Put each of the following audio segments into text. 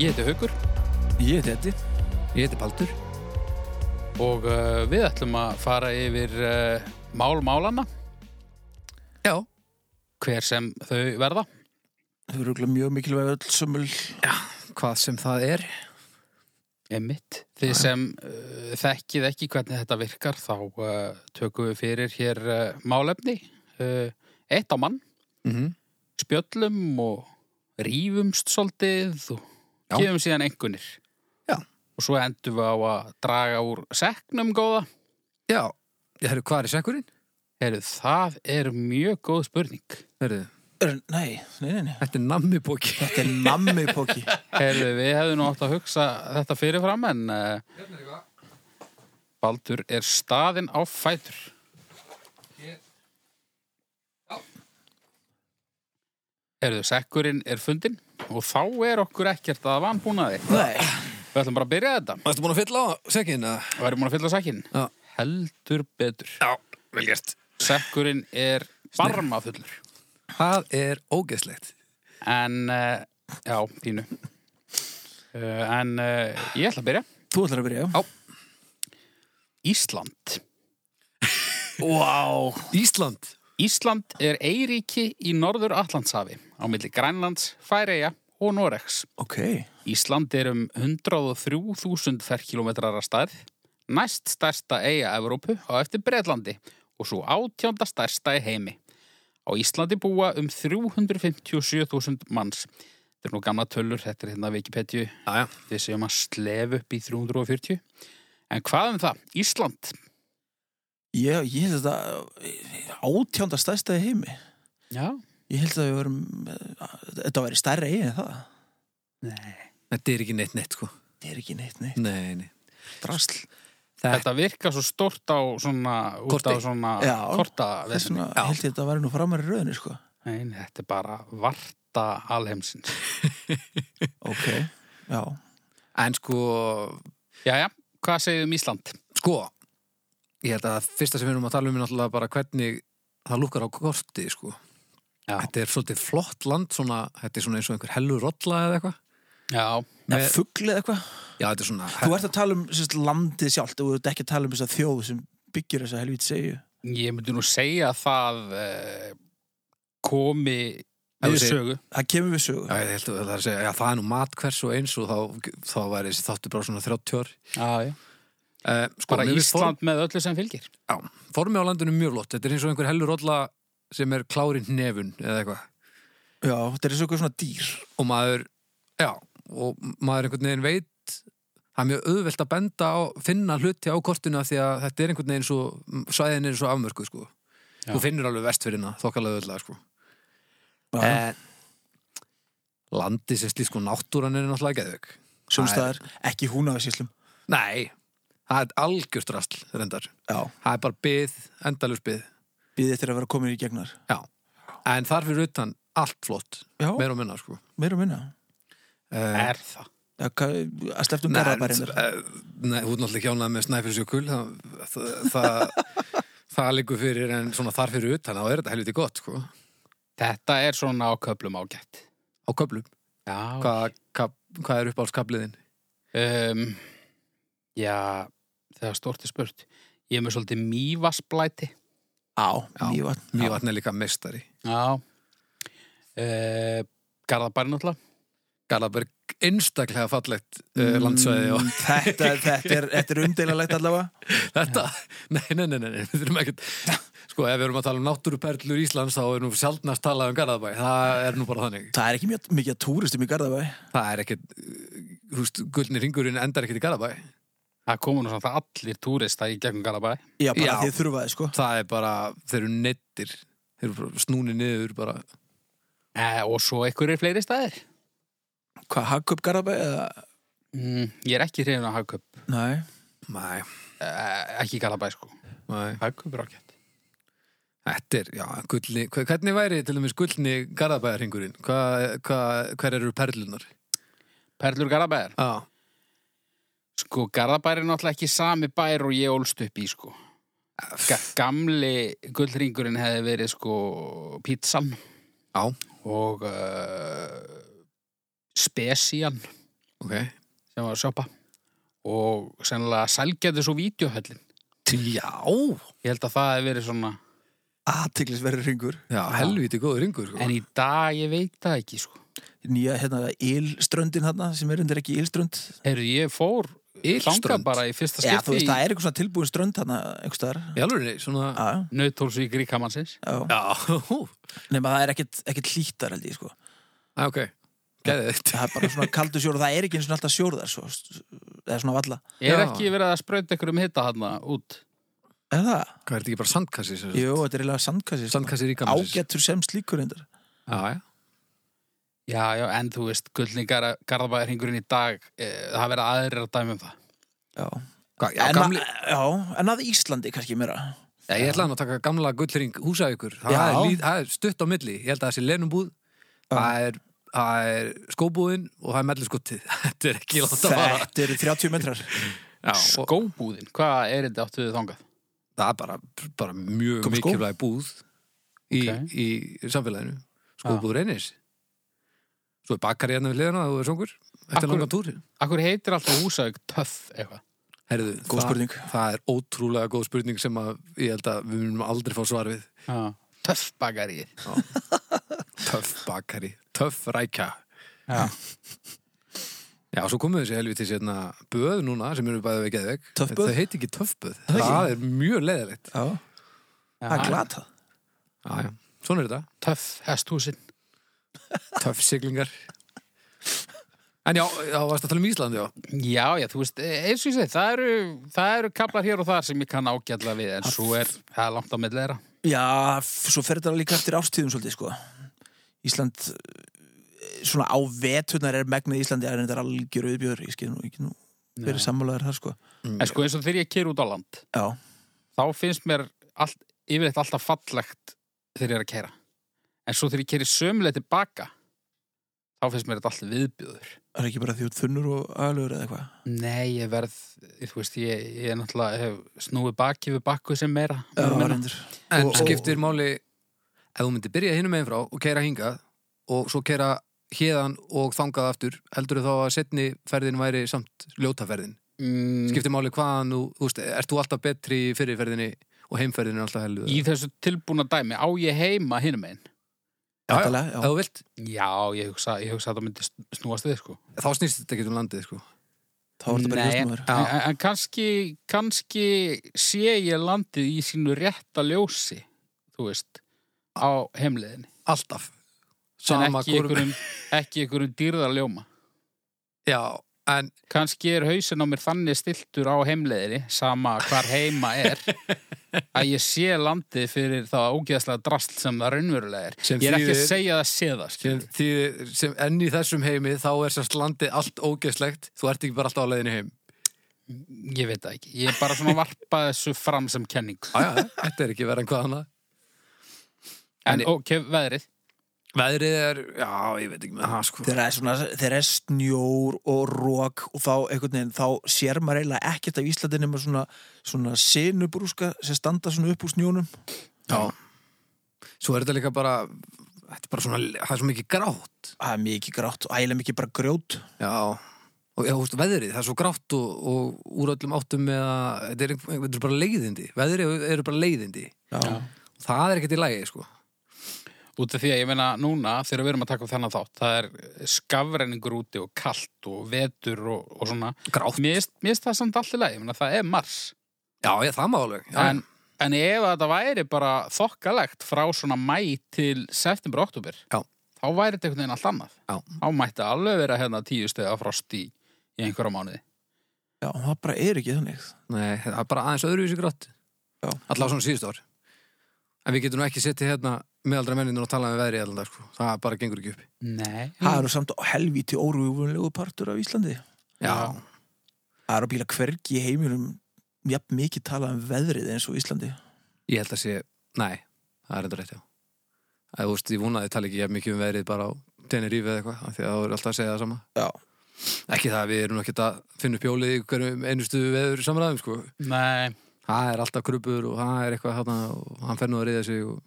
Ég heiti Haugur, Ég heiti Eddi. ég heiti Baldur og uh, við ætlum að fara yfir uh, mál málanna, Já. hver sem þau verða. Þau eru örugglega mjög mikilvæg öll sömul. hvað sem það er Emmitt. Þið sem uh, þekkið ekki hvernig þetta virkar þá uh, tökum við fyrir hér uh, málefni, uh, eitt á mann, mm Mhm. -hmm. spjöllum og rífumst svolítið og Já. gefum síðan engunir. Já. Og svo endum við á að draga úr seknum góða. Já, ég herru, hvað er sekkurinn? Heru, það er mjög góð spurning. Herru, Er, nei, nei, nei, nei. þetta er nammibóki Þetta er nammi póki. Heru, við hefðum nú átt að hugsa þetta fyrirfram en uh, Baldur er staðinn á fætur. Heru, sekkurinn er fundinn og þá er okkur ekkert að vanbúnaði. nei. Við ætlum bara að byrja þetta. Ertu búin að fylla á sekkin? eða? Við erum búin að fylla sekkinn. Já. Heldur betur. Já, vel gert Sekkurinn er barmafullur. Það er ógeðslegt En, uh, já, pínu. Uh, en uh, ég ætla að byrja. Þú ætlar að byrja, já. Ísland. Vá. Wow. Ísland Ísland er eiríki í norður Allandshafi á milli Grænlands, Færeja og Noregs. Ok. Ísland er um 103.000 ferkilometrar að stærð, næst stærsta eiga Evrópu á eftir Bretlandi og svo átjánda stærsta í heimi. Á Íslandi búa um 357.000 manns. Þetta er nú gamla tölur, þetta er hérna Wikipedia Já, já við séum að slef upp í 340. En hvað um það? Ísland? Ég, ég held að þetta átjánda stærstaði heimi. Já. Ég held að við verum, þetta væri stærra eigin en það. Þetta er ekki neitt neitt, sko Þetta er ekki neitt, neitt. Nei, nei Drasl. Þetta, Þetta virkar svo stort á svona, út Korti. á svona Já. korta Það er vesinni. svona, Já. held ég þetta væri nú framar í rauninni, sko. Nei, nei, þetta er bara varta alheimsins. Ok. Já. en sko Jæja, hvað segir um Ísland? Sko Ég held að það fyrsta sem við erum að tala um er náttúrulega bara hvernig það lúkar á korti, sko Já. Þetta er svolítið flott land, svona Þetta er svona eins og einhver hellur rolla eða eitthvað Já, Með Með- fugglið eitthvað? Já, þetta er svona Þú ert að tala um sérst, landið sjálft og þú ert ekki að tala um þess að þjóð sem byggir þessa helvítið segju. ég myndi nú segja að það eh, komi Ef við þú segir- sögu. Það kemur við sögu. Já, ég held að það er að segja, já, það er nú mat hvers og eins og þá, þá væri þessi þáttu bara svona 30 ár. Já, já. Uh, Bara Ísland með öllu sem fylgir. Form, já, formi á landinu er mjög lott. Þetta er eins og einhver hellur rolla sem er klárin nefun eða eitthvað. Já, þetta er eins og eitthvað svona dýr. Og maður, já, og maður einhvern veginn veit, það er mjög auðvelt að benda á, finna hluti á kortinu af því að þetta er einhvern veginn svo, svæðin er svo afmörkuð, sko. Já. Þú finnur alveg vestfyrirna, þokkalega auðvitað, sko. Já, En, landi sem slíkt, sko, náttúran er náttúrulega geðvögg. Sumstaðar, ekki húnaðarsýslum. Nei, það er algjört rastl, reyndar. Já, Það er bara byð, endalus byð. býðið eftir að vera komin í gegnar. En þar fyrir utan allt flott, Já, meir og minna, sko. meira og minna. Uh, Er það? Já, hvað- Að sleftum nei, garðabærinnar. eh, nei, þú er náttúrulega hjánað með snæfyrsjökul, það, það, það, það liggur fyrir, en svona þar fyrir utan, þá er þetta helviti gott, sko. Þetta er svona á köflum ágætt. Á köflum. Já. Hvað, hvað, hvað er upp á skabliðin? Um, já, þegar stort er spurt. Ég er með svolítið mývasblæti. Á, Já. mývatn. Mjög vatn er líka meistari. Já. Uh, Garðabæri náttúrulega. Garðaberg, einstaklega fallegt uh, landsvæði og Mm, Þetta, þetta er, þetta er umdeilalegt allavega. Þetta, nei, nei, nei, nei, nei, við þurfum ekkert Sko, ef við erum að tala um náttúruperlur Íslands þá er nú sjaldnast talað um Garðabæ Það er nú bara þannig Það er ekki mjög mikið að túristum í garðabæ. Það er ekkert, uh, þú veist, gullni ringurinn endar ekkert í Garðabæ Það komur nú svona allir túrista í gegnum Garðabæ. Já, bara Já. þið þurfaði, sko. Það er bara, þeir eru nettir Þeir eru bara snúni niður bara Eh, og svo einhverjir fleiri staðir. Hvað, hagköp garðabæ eða? Mm, ég er ekki hrifin að hagköp. Nei. Mæ, Eh, ekki Garðabæ sko. mæ Hagköp er ágætt. Þetta er, já, gullni hve- Hvernig væri til dæmis gullni Garðabæringurinn? Hvað, hvað, hver eru perlunar? Perlur Garðabæðar. Já, Sko, Garðabæðar er náttúrulega ekki sami bær og ég ólst upp í sko. Ga gamli gullringurinn hefði verið sko pítsan já, og uh, spesian. ok. sem var að sjoppa og sennilega sælgæti svo vídeohöllin Já, ég held að það hef verið svona Aðtiklisverður ringur. já, helviti góður yngur, sko. en í dag ég veit það ekki sko. Nýja, hérna, ílströndin þarna, sem er undir ekki ílströnd. Heyrðu, ég fór þangað bara í fyrsta Já, þú skipti veist, í það er eitthvað svona tilbúin strönd þarna, einhvers staðar. Í alvörinni, svona... Já, já. Nauthólsvík ríkamannsins Já, Já, hú. nema það er ekkit, ekkit hlýttar held ég sko Æ, ok. Gæðið þetta. Það er bara svona kaldur sjór og það er ekki eins og alltaf sjór þar svo, eða svona valla er Já. ekki verið að sprauta ykkur um hitta hana út Er það? Hvað er þetta ekki bara sandkassi? sem sagt? Jú, þetta er eiginlega sandkassi sko. Sandkassi ríkamansins. Ágættur sem slíkur reyndar Já, já. já, já, en þú veist, gullningar garðabæðarhingurinn í dag e, það verið aðrir að dæmi um það Já, Hva, já, en, gamli, að, já en að Íslandi kannski meira já, ég ætlaði nú að taka gamla gullring húsæðugur. Það, Já. er líð- það er stutt á milli. Ég held að það sé lenumbúð, það er, það er skóbúðin og það er melliskottið. þetta er ekki látt að fara. Þetta eru 30 metrar Já, og skóbúðin, hvað er þetta áttu við þangað? það er bara, bara mjög Kom skó? mikilvæg búð í, Ok. í samfélaginu. Skóbúð reynis. Svo er bakari hérna við hliðina og þú er songur. Þetta Akkur- er langan túr. Akkur heitir alltaf húsauk töff eitthvað Herðu, Góð það- spurning. Það er ótrúlega góð spurning sem að ég held að við munum aldrei fá svar við. Já. töff bakarið Töff bakari, töff rækja. Já. Já, svo komum við þessi helvið til sérna böð núna sem eru bæðið við geðveg. Töff böð? Það heiti ekki töff böð. Það ekki? Það er mjög leðilegt. Já, það er Já, glata Já, já. Svona er þetta. töff hesthúsin Töff siglingar. En já, já, varst að tala um Ísland, já. Já, já, þú veist, e, eins og ég segi, það eru, það eru kaplar hér og þar sem ég kann ágætla við, en svo er, það er langt á milli þeirra. Já, f- svo fer þetta líka eftir ástíðum svolítið sko Ísland eh, svona á veturnar er megnið Íslandi er þetta algjör auðbjör ég skil nú ekki nú verið sammálaður þar sko En sko eins og þegar ég ker út á land, Já, þá finnst mér allt, yfirleitt alltaf fallegt þegar ég er að kera. En svo þegar ég keri sömuleið tilbaka, þá finnst mér þetta alltaf viðbjöður. það er ekki bara því út þunnur og aðlugur eða eitthvað Nei, ég verð, þú veist, ég, ég er náttúrulega hef snúið baki við bakku sem meira. Já, meira minna. reyndur En Og- og- skiptir máli ef þú myndir byrja hinum meginn frá og keira hingað og svo keira hérðan og þangað aftur heldur þá að setni ferðin væri samt ljótaferðin. Mm, Skiptir máli hvaðan þú, þú veist, ert þú alltaf betri í fyrirferðinni og heimferðin er alltaf heldur. í þessu tilbúna dæmi, á ég heima hinum einn? Væntanlega, já. Ef þú vilt, Já, ég hugsa, ég hugsa að það myndi snúast við, sko. þá snýst þetta ekki um landið, sko. Þá er þetta bara Nei, ljósnúður En, en, en kannski, kannski sé ég landið í sínu rétta ljósi, þú veist, á heimleiðinni. Alltaf. en Sama ekki hvorum- einhverjum, ekki einhverjum dýrðarljóma. Já, en Kannski er hausin á mér þannig stiltur á heimleiðinni, sama hvar heima er, að ég sé landið fyrir það ógeðslega drast sem það raunverulega er. Sem ég er ekki að þýðir- segja það sé það, sem, skilur. því, sem enn í þessum heimi þá er sérst landið allt ógeðslegt þú ert ekki bara alltaf á leiðinni heim. Ég veit það ekki. Ég er bara svona að varpa þessu fram sem kenning. Á, já, þetta er ekki verið en hvað annað. En En- ok, veðrið. Veðrið er, já, ég veit ekki með það, sko. Þegar það er svona, þegar það er snjór og rók og þá einhvern veginn, þá sér maður eiginlega ekkert af Íslandi nema svona, svona sinubrúska sem standa svona upp úr snjónum. Já. Svo er þetta líka bara, þetta er bara svona, það er svo mikið grátt. Það er mikið grátt og ægilega mikið bara grjót. Já. Og já, þú veist, veðrið, það er svo grátt og, og úr öllum áttum með að, þetta er, einhver- þetta er bara leiðindi. Veðrið eru bara leiðindi. Já. Það er ekkert í lagi, sko. Út af því að ég meina núna þegar við erum að taka upp þennan þátt, það er skafrenningur úti og kalt og vetur og, og svona. Grátt. Mér finnst- mér finnst það samt allt í lagi, ég meina það er mars. Já, ég, það má alveg. Já, En, en ef þetta væri bara þokkalegt frá svona mæ til september og oktober, Já. þá væri þetta einhvern veginn allt annað. Já. Þá mætti alveg vera hérna tíu stegið frost í, í einhverja mánuði. Já, það bara er ekki þannig. Nei, það er bara aðeins öðruvísi grátt Já. Allá svona síðust ár En við getum nú ekki settið hérna meðaldra menninu og talað um veðrið allan dag sko. Það bara gengur ekki upp Nei. Það eru samt helvíti órúfunlegu partur af Íslandi. Já, Það eru bíla hvergi í heiminum jafn mikið talað um veðrið eins og Íslandi. ég held að sé Nei, það er endur rétt já Það þú veist, ég vonaði tala ekki jafn mikið um veðrið bara á Tenerife eða eitthvað, af því að það voru alltaf að segja það sama Já. Ekki það að við erum ekki að finna upp hjólið í hverjum einustu veður samræðum sko. Nei. Það er alltaf krupur og það er eitthvað þarna og hann fer nú að reyða sig og...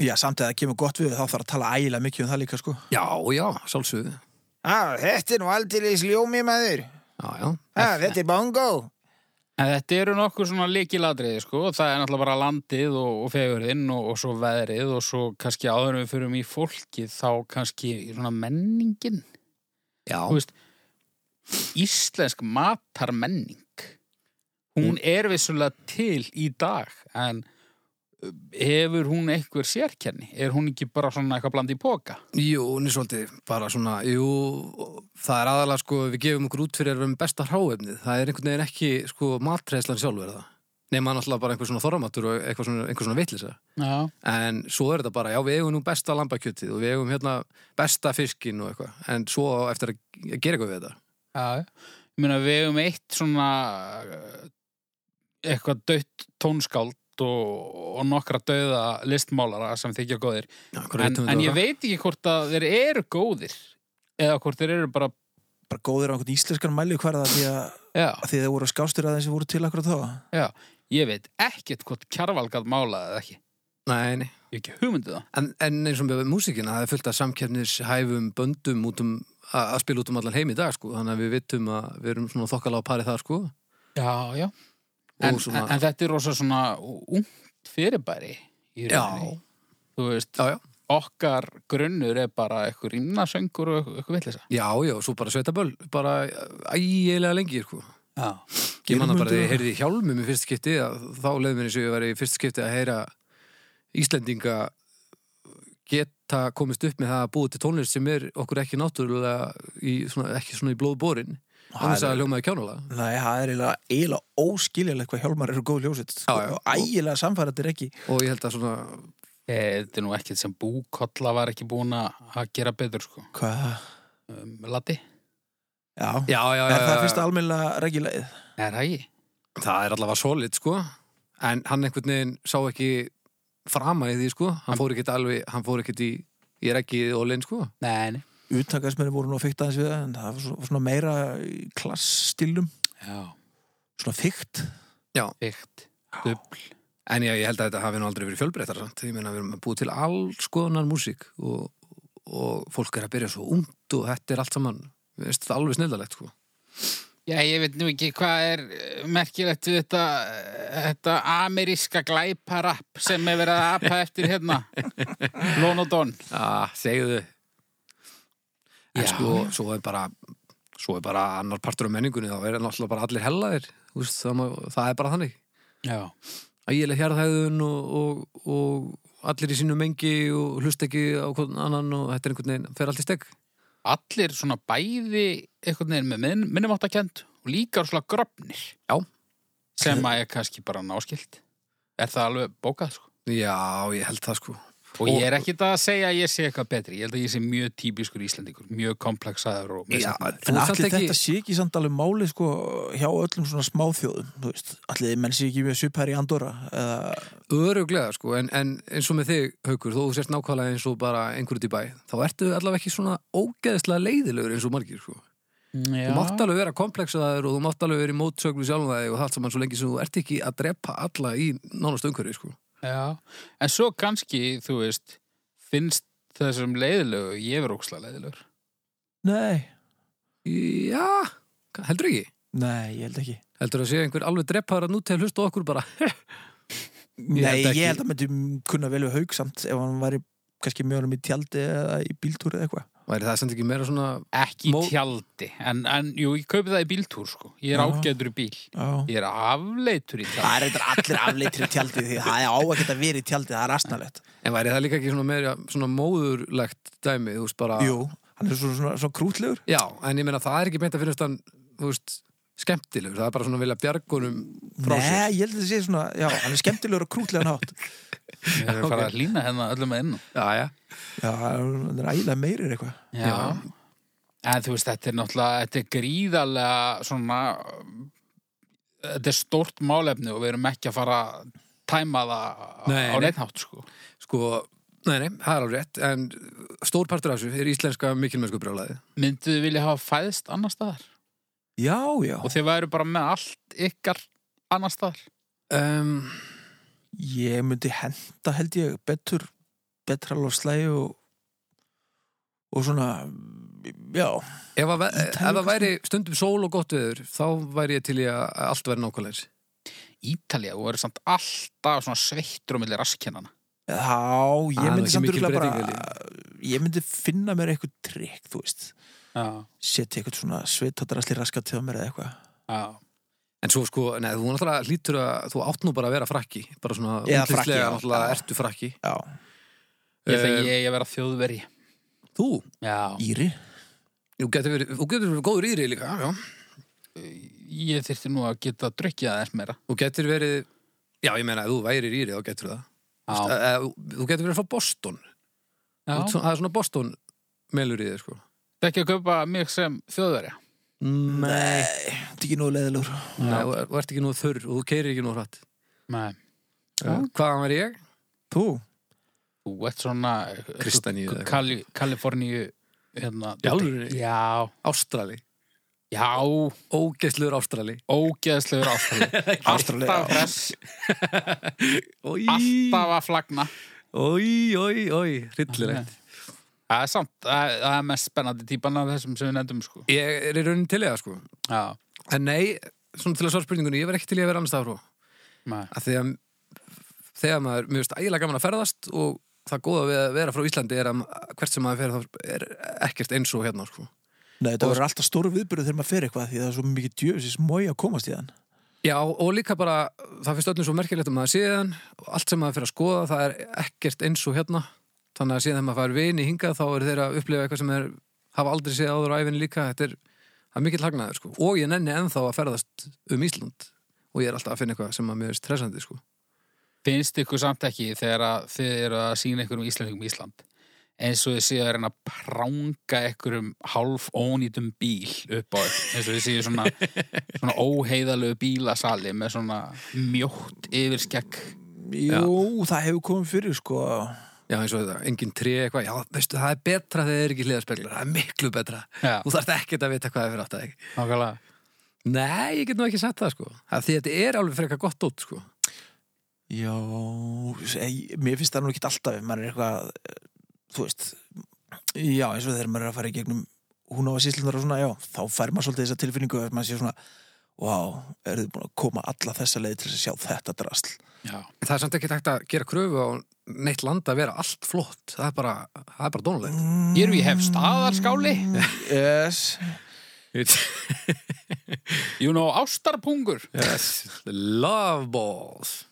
Já, samt að það kemur gott við þá þarf að tala ægilega mikið um það líka, sko. Já, já, sálsöðu ah, þetta er nú aldeilis ljómi maður Já, já. ah, þetta er bongo En þetta eru nokkur svona líkiladriði sko og það er náttúrulega bara landið og, og fegurðinn og, og svo veðrið og svo kannski áður en við fyrum í fólkið þá kannski svona menningin Já, Þú veist, íslensk matarmenning hún er vissulega til í dag en uh, hefur hún einhver sérkenni? Er hún ekki bara svona eitthvað bland í póka? jú, hún er svolítið bara svona, jú, það er aðalega sko, við gefum okkur út fyrir að við erum besta hráefnið. Það er einhvern veginn ekki, sko, matreislan sjálfur er það. Nei, maður náttúrulega bara einhver svona þorramatur og eitthvað svona, einhver svona vitlisa. Já. En svo er þetta bara, já, við eigum nú besta lambakjötið og við eigum hérna besta fiskin og eitthvað. En svo á eftir að að gera eitthvað við þetta. Já, ég meina við hefum eitt svona uh, eitthvað dött tónskáld og, og nokkra dauða listmálara sem þykja góðir Já, en, hverju vitum en við þetta? ég veit ekki hvort að þeir eru góðir eða hvort þeir eru bara bara góðir á einhvern íslenskan mæli hverða því að, já, að því að það voru skástur að þessi voru til akkur þá já, ég veit ekkert hvort kjarvalgat málaði eða ekki Nei, nei. ég hef ekki hugmyndið það En, en eins og með músikina, það er fullt af samkeppnishæfum böndum út um að að spila út um allan heim í dag, sko. Þannig að við vitum að við erum svona þokkala á parið þar, sko. já, já en, svona- en, en þetta er rosa svona ungt fyrirbæri í Já. rauninni þú veist, Já, já. okkar grunnur er bara eitthvað rímnasöngur og eitthvað- eitthvað villisa Já, já, svo bara sveitaböll, bara ægilega lengi, sko. já Ég manna bara Geirmundur. þegar ég heyrði í hjálmum í fyrst skipti, að, þá leið mér eins og ég var í fyrst skipti að heyra Íslendinga geta komist upp með það að búa til tónlist sem er okkur ekki náttúrulega í, svona, ekki svona í blóðbórin annars að hljómaði kjánulega Nei, það er eiginlega, eiginlega óskiljalegt hvað Hjálmar eru góð ljósitt sko, Já, já. og ægilega samfærandir ekki og ég held að svona Eh, Þetta er nú ekkert sem búkolla var ekki búin að að gera betur, sko. Hvað? Um, Latti? Já, já, já, er það fyrsta almennilega regjulegið? Nei, það ekki. það er allavega solid sko en hann einhvern veginn sá ekki frama í því sko hann fór ekkert alveg, hann fór ekkert í ég er ekki í ólinn sko Nei, nei. Uttakarsmenni voru nú að fykta aðeins við það en það var svo- var svona meira í klassstilum Já, svona fykt fyrkt. Dubl. en ég, ég held að þetta hafi nú aldrei verið fjölbreyttar samt. ég meina við erum að búa til alls konar músík og, og fólk er að byrja svo ungt og þetta er allt saman við veist þetta alveg snildalegt sko Já, ég veit nú ekki hvað er eh, merkilegt við þetta, eh, þetta ameríska glæparapp sem er verið að apa eftir hérna. Lón og Don. ah, segðu en Já. sko, svo er bara svo er bara annar partur af menningunni þá er náttúrulega bara allir hellaðir þú veist, það, má, það er bara þannig Já. ægileg hjarðhæðun og, og, og allir í sínu mengi og hlust ekki á hvern annan og þetta er einhvern veginn, fer allt í stegg. Allir svona bæði einhvern veginn með minn, minnumáttakend og líka svona gröfnir. Já. Sem að er kannski bara náskilt. Er það alveg bókað, sko? Já, ég held það sko. Og ég er ekkit að segja að ég sé eitthvað betri. Ég held að ég sé mjög típiskur íslendingur, mjög komplexaður og Já, misheppnaður. þú En samt allir ekki- þetta sé ekki samt alveg máli sko, hjá öllum svona smáþjóðum þú veist, allir menn sé ekki við supæri í Andorra eða, Öruglega sko, en, en eins og með þig, Haukur, þú sért nákvæmlega eins og bara einhverjum í bæ, þá ertu allavega ekki svona ógeðslega leiðilegur eins og margir sko. Já. Þú mátt alveg vera komplexaður og þú mátt alveg vera í mótsöglu sjálfum það og það allt saman svo lengi sem þú ert ekki að drepa alla í nánast umhverju sko. Já. En svo kannski, þú veist, finnst þessum leiðilegu, ég er ókslega leiðilegur. nei, Já, heldur ekki. nei, ég held ekki Heldur að sé einhver alveg drepaður að nú til hlusta á okkur bara, Nei, held ekki. ég held að myndi kunna vel við haug samt ef hann væri kannski mjög um í tjaldi eða í bíltúri eða eitthvað væri það samt ekki meira svona Ekki í Mó- tjaldi, en, en jú, ég kaupi það í bíltúr, sko. Ég er Já. ágætur í bíl. Já. Ég er afleitur í Það tjaldi. er eitthvað allir afleitri í tjaldi því það er á að geta verið í tjaldi, það er asnalegt En væri það líka ekki svona meira svona móðurlegt dæmi, þú veist bara Jú, hann er svona, svona, svona krútlegur Já, en ég meina það er ekki meint að finnast hann þú veist, skemmtilegur, það er bara svona að vilja bjargunum frá sér Nei, ég held að það sé svona, já, hann er skemmtilegur og krútlegan hátt Ég er að fara að lína hérna öllum að innan. Já, já, Já, hann er ægilega meirir eitthvað Já. En þú veist, þetta er náttúrulega, þetta er gríðarlega svona, þetta er stórt málefni og við erum ekki að fara að tæma það Nei, á nei. neittnátt, sko. sko Nei, nei, það er alveg rétt, en stór partur af þessu er íslenska mikilmennsku brjálæði mynduðu vilja hafa fæðst annar staðar Já, já, og þið væru bara með allt ykkar annar staðar um, ég myndi henda held ég betur betra lofslægi og og svona já, Ef, að, ve- ef Ítalíu það kannski? væri stundum sól og gott veður, þá væri ég til í að að allt væri nákvæmleins. Ítalía, þú verður samt alltaf svona sveittur á milli rastkennana. já Það ég er nú myndi ekki samt mikil örugglega bara breyting, ég myndi finna mér eitthvað trikk, þú veist Já, setja eitthvað svona sveitadrasli raskat til að mér eða eitthvað já. En svo sko, neð, þú náttúrulega hlýtur að, þú átt nú bara að vera frakki, bara svona Eða frakki, útlitslega já. náttúrulega Já. ertu frakki. já, Ég held Eh, að ég eigi að vera þjóðveri. Þú, Já. íri þú getur verið, þú getur verið góður íri líka, já. Ég þyrfti nú að geta að drukja aðeins meira. Þú getur verið, já ég meina, ef þú værir íri, þá getur það. Já. Eh, eh, Þú þú getur verið frá Boston, Þú ert já. svona- það er svona Boston melur í þér sko. Það ekki að kaupa mig sem þjóðveri. Nei. þetta er ekki nógu leðilegur Nei, þú þú ert ekki nú þurr og þú keirir ekki nú hratt. Nei. Já. Ja. Hvaðan var ég? þú, Þú ert svona... Kristaníu eða eitthvað. Kali, Kaliforníu. Hérna, Í alvörunni? Já. Ástrali. Já. Ógeðsluður Ástrali. Ógeðslegur ástrali. Ástrali, já. Alltaf hress. Ói, Alltaf að flagna. ói, ói, ói, hryllilegt. Það er samt, það það er mest spennandi típan af þessum sem við nefndum sko. Ég er í raunin til eða sko. Já, En nei, svona til að svara spurningunni, ég var ekki til í að vera annars það frá. nei, Að því að þegar maður, mér finnst ægilega gaman að ferðast og það góða við að vera frá Íslandi er að hvert sem maður fer þá er ekkert eins og hérna sko. nei þetta Og- verður alltaf stóru viðbyrðu þegar maður fer eitthvað því það er svo mikið djöfisins mói að komast í þann Já, og líka bara, það finnst öllum svo merkilegt um maður síðan og allt sem maður fyrir að skoða, það er ekkert eins og hérna. Þannig að síðan þegar maður fær vini hingað, þá eru þeir að upplifa eitthvað sem er, hafa aldrei séð áður á æfinni líka. Þetta er, það er mikill hagnaður, sko. Og ég nenni ennþá að ferðast um Ísland og ég er alltaf að finna eitthvað sem að mér er stressandi, sko. finnst ykkur samt ekki þegar að þið eru að sína ykkur um Íslandingum Ísland eins og þið séu að reyna að pranga ykkur um hálf ónýtum bíl upp á ykkur, eins og þið séu svona, svona óheiðalegu bílasali með svona mjótt yfirskegg jú, það hefur komið fyrir sko Já, eins og þetta, engin tré eitthvað, já, veistu, það er betra þegar þeir eru ekki hliðarspeglar, það er miklu betra. Já, Þú þarft ekkert að vita hvað er fyrir átt að ekki. nákvæmlega Nei, ég get nú ekki sagt það, sko. Það, því þetta er alveg frekar gott út, sko. Já, ég, mér finnst það nú ekki alltaf ef maður er eitthvað, eh, þú veist já, eins og þegar maður er að fara í gegnum hún á að síslundar og svona, já þá fær maður svolítið þessa tilfinningu að maður sé svona Vá, eru þið búin að koma alla þessa leið til þess að sjá þetta drasl Já, En það er samt ekki takt að gera kröfu á neitt land að vera allt flott. Það er bara, það er bara dónulegt. ég Mm. erum í hef staðarskáli Yes You know, ástarpungur Yes. Love balls.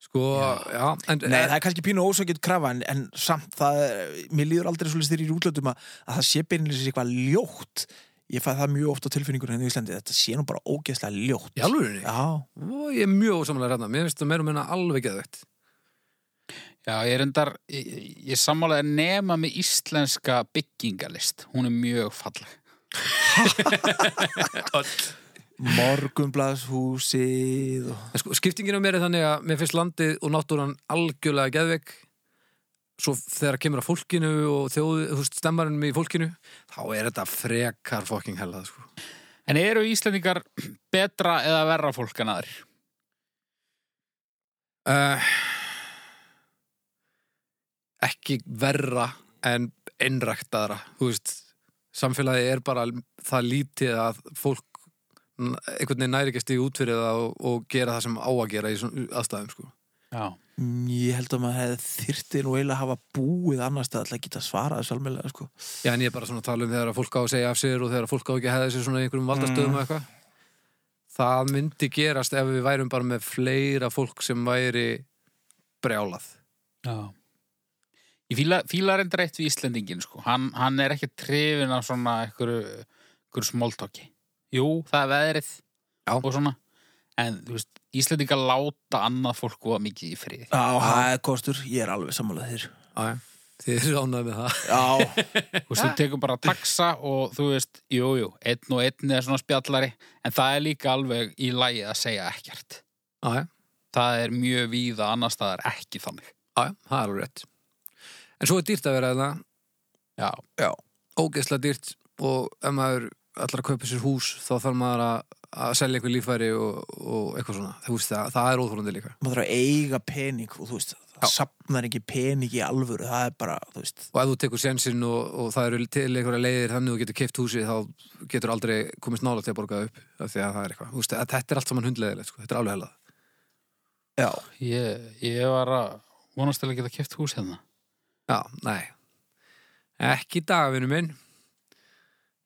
Sko, já. en, eh, Nei, það er kannski pínu ósakið krafa en, en samt, það er, mér líður aldrei svolítið þeirri í útlöndum að, að það sé beinlega eitthvað ljótt Ég fæ það mjög oft á tilfinningur henni í Íslandi, þetta sé nú bara ógeðslega ljótt Í alvörinni? Já, Ó, ég er mjög ósamlega ræðna. Mér finnst það meira og minna alveg geðvegt. Já, ég er endar, ég, ég sammála að nema með íslenska byggingalist Hún er mjög falleg morgunblaðshúsið og... En sko, skiptingin á mér er þannig að mér finnst landið og náttúran algjörlega geðveg. Svo þegar kemur að fólkinu og þjóðu, þú veist, stemmarunum í fólkinu, þá er þetta frekar fucking hellað, sko. En eru Íslendingar betra eða verra fólk en aðrir? Uh, ekki verra en innræktaðra þú veist, samfélagi er bara það lítið að fólk n- einhvern veginn næri ekki stíð út fyrir það og, og gera það sem á að gera í svona aðstæðum sko. Já. Mm, Ég held að maður hefði þyrti nú eiginlega að hafa búið annars staðar til að geta svarað þessu almennlega sko. Já, en ég er bara svona að tala um þegar að fólk á að segja af sér og þegar að fólk á ekki að hefða sér svona í einhverjum valdastöðum Mm. og eitthvað það myndi gerast ef við værum bara með fleira fólk sem væri brjálað Já. Ég fíla, fíla reyndar eitt við Íslendingin, sko. Hann, hann er ekki trefin af svona einhverju, einhverju smóltóki. Jú, það er veðrið Já. og svona. En, þú veist, Íslendingar láta annað fólk góða mikið í frið. Já, það er kostur, ég er alveg samanlega þér Æ, þið eru ánægð með það Já, Þú veist, þú tekur bara taxa og þú veist, jú, jú, einn og einn er svona spjallari, en það er líka alveg í lagi að segja ekkert. Æ, Það er mjög víða annar staðar ekki þannig. Já, það er alveg rétt. En svo er dýrt að vera það, Já. ógeðslega dýrt og ef maður allar að kaupa sér hús þá þarf maður að, að selja einhver líffæri og, og eitthvað svona. Það, það, það er óþólandi líka. maður þarf að eiga pening og þú veist, það sapnar ekki pening í alvöru það er bara, þú veist, og ef þú tekur sensinn og, og það eru til einhverja leiðir þannig þú getur keift húsið þá getur aldrei komist nála til að borga það upp af því að það er eitthvað, Þú veist, að þetta er allt saman hundleðilegt sko. þetta er alveg helað já, Ég, ég var að vonast til að geta keft hús hérna. já, nei ekki í dag, vinnu minn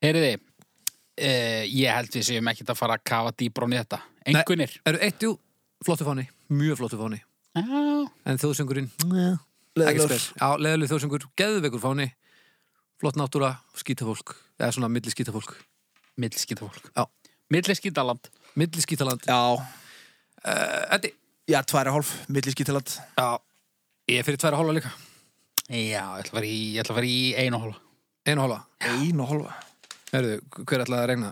Heyriði, uh, ég held við séum ekkert að fara að kafa dýbra á þetta. Engunir. eru eitt, jú, flottu fáni, mjög flottu fáni Já, en þjóðsöngurinn, ekkert leðilegur spes já, leðileg þjóðsöngur, geðveikur fáni flott náttúra, skítafólk eða svona milli skítafólk, milliskita fólk. Já. Milliskitaland. milli skítaland já, Eh, Eddi, já, tværi hálf, milliskítaland já, ég er fyrir tværa hóla líka Já, ég ætla að fara í, ég ætla að fara í einu hóla. einu hóla, ein og hálfa Herðu, hver ætlaði að regna?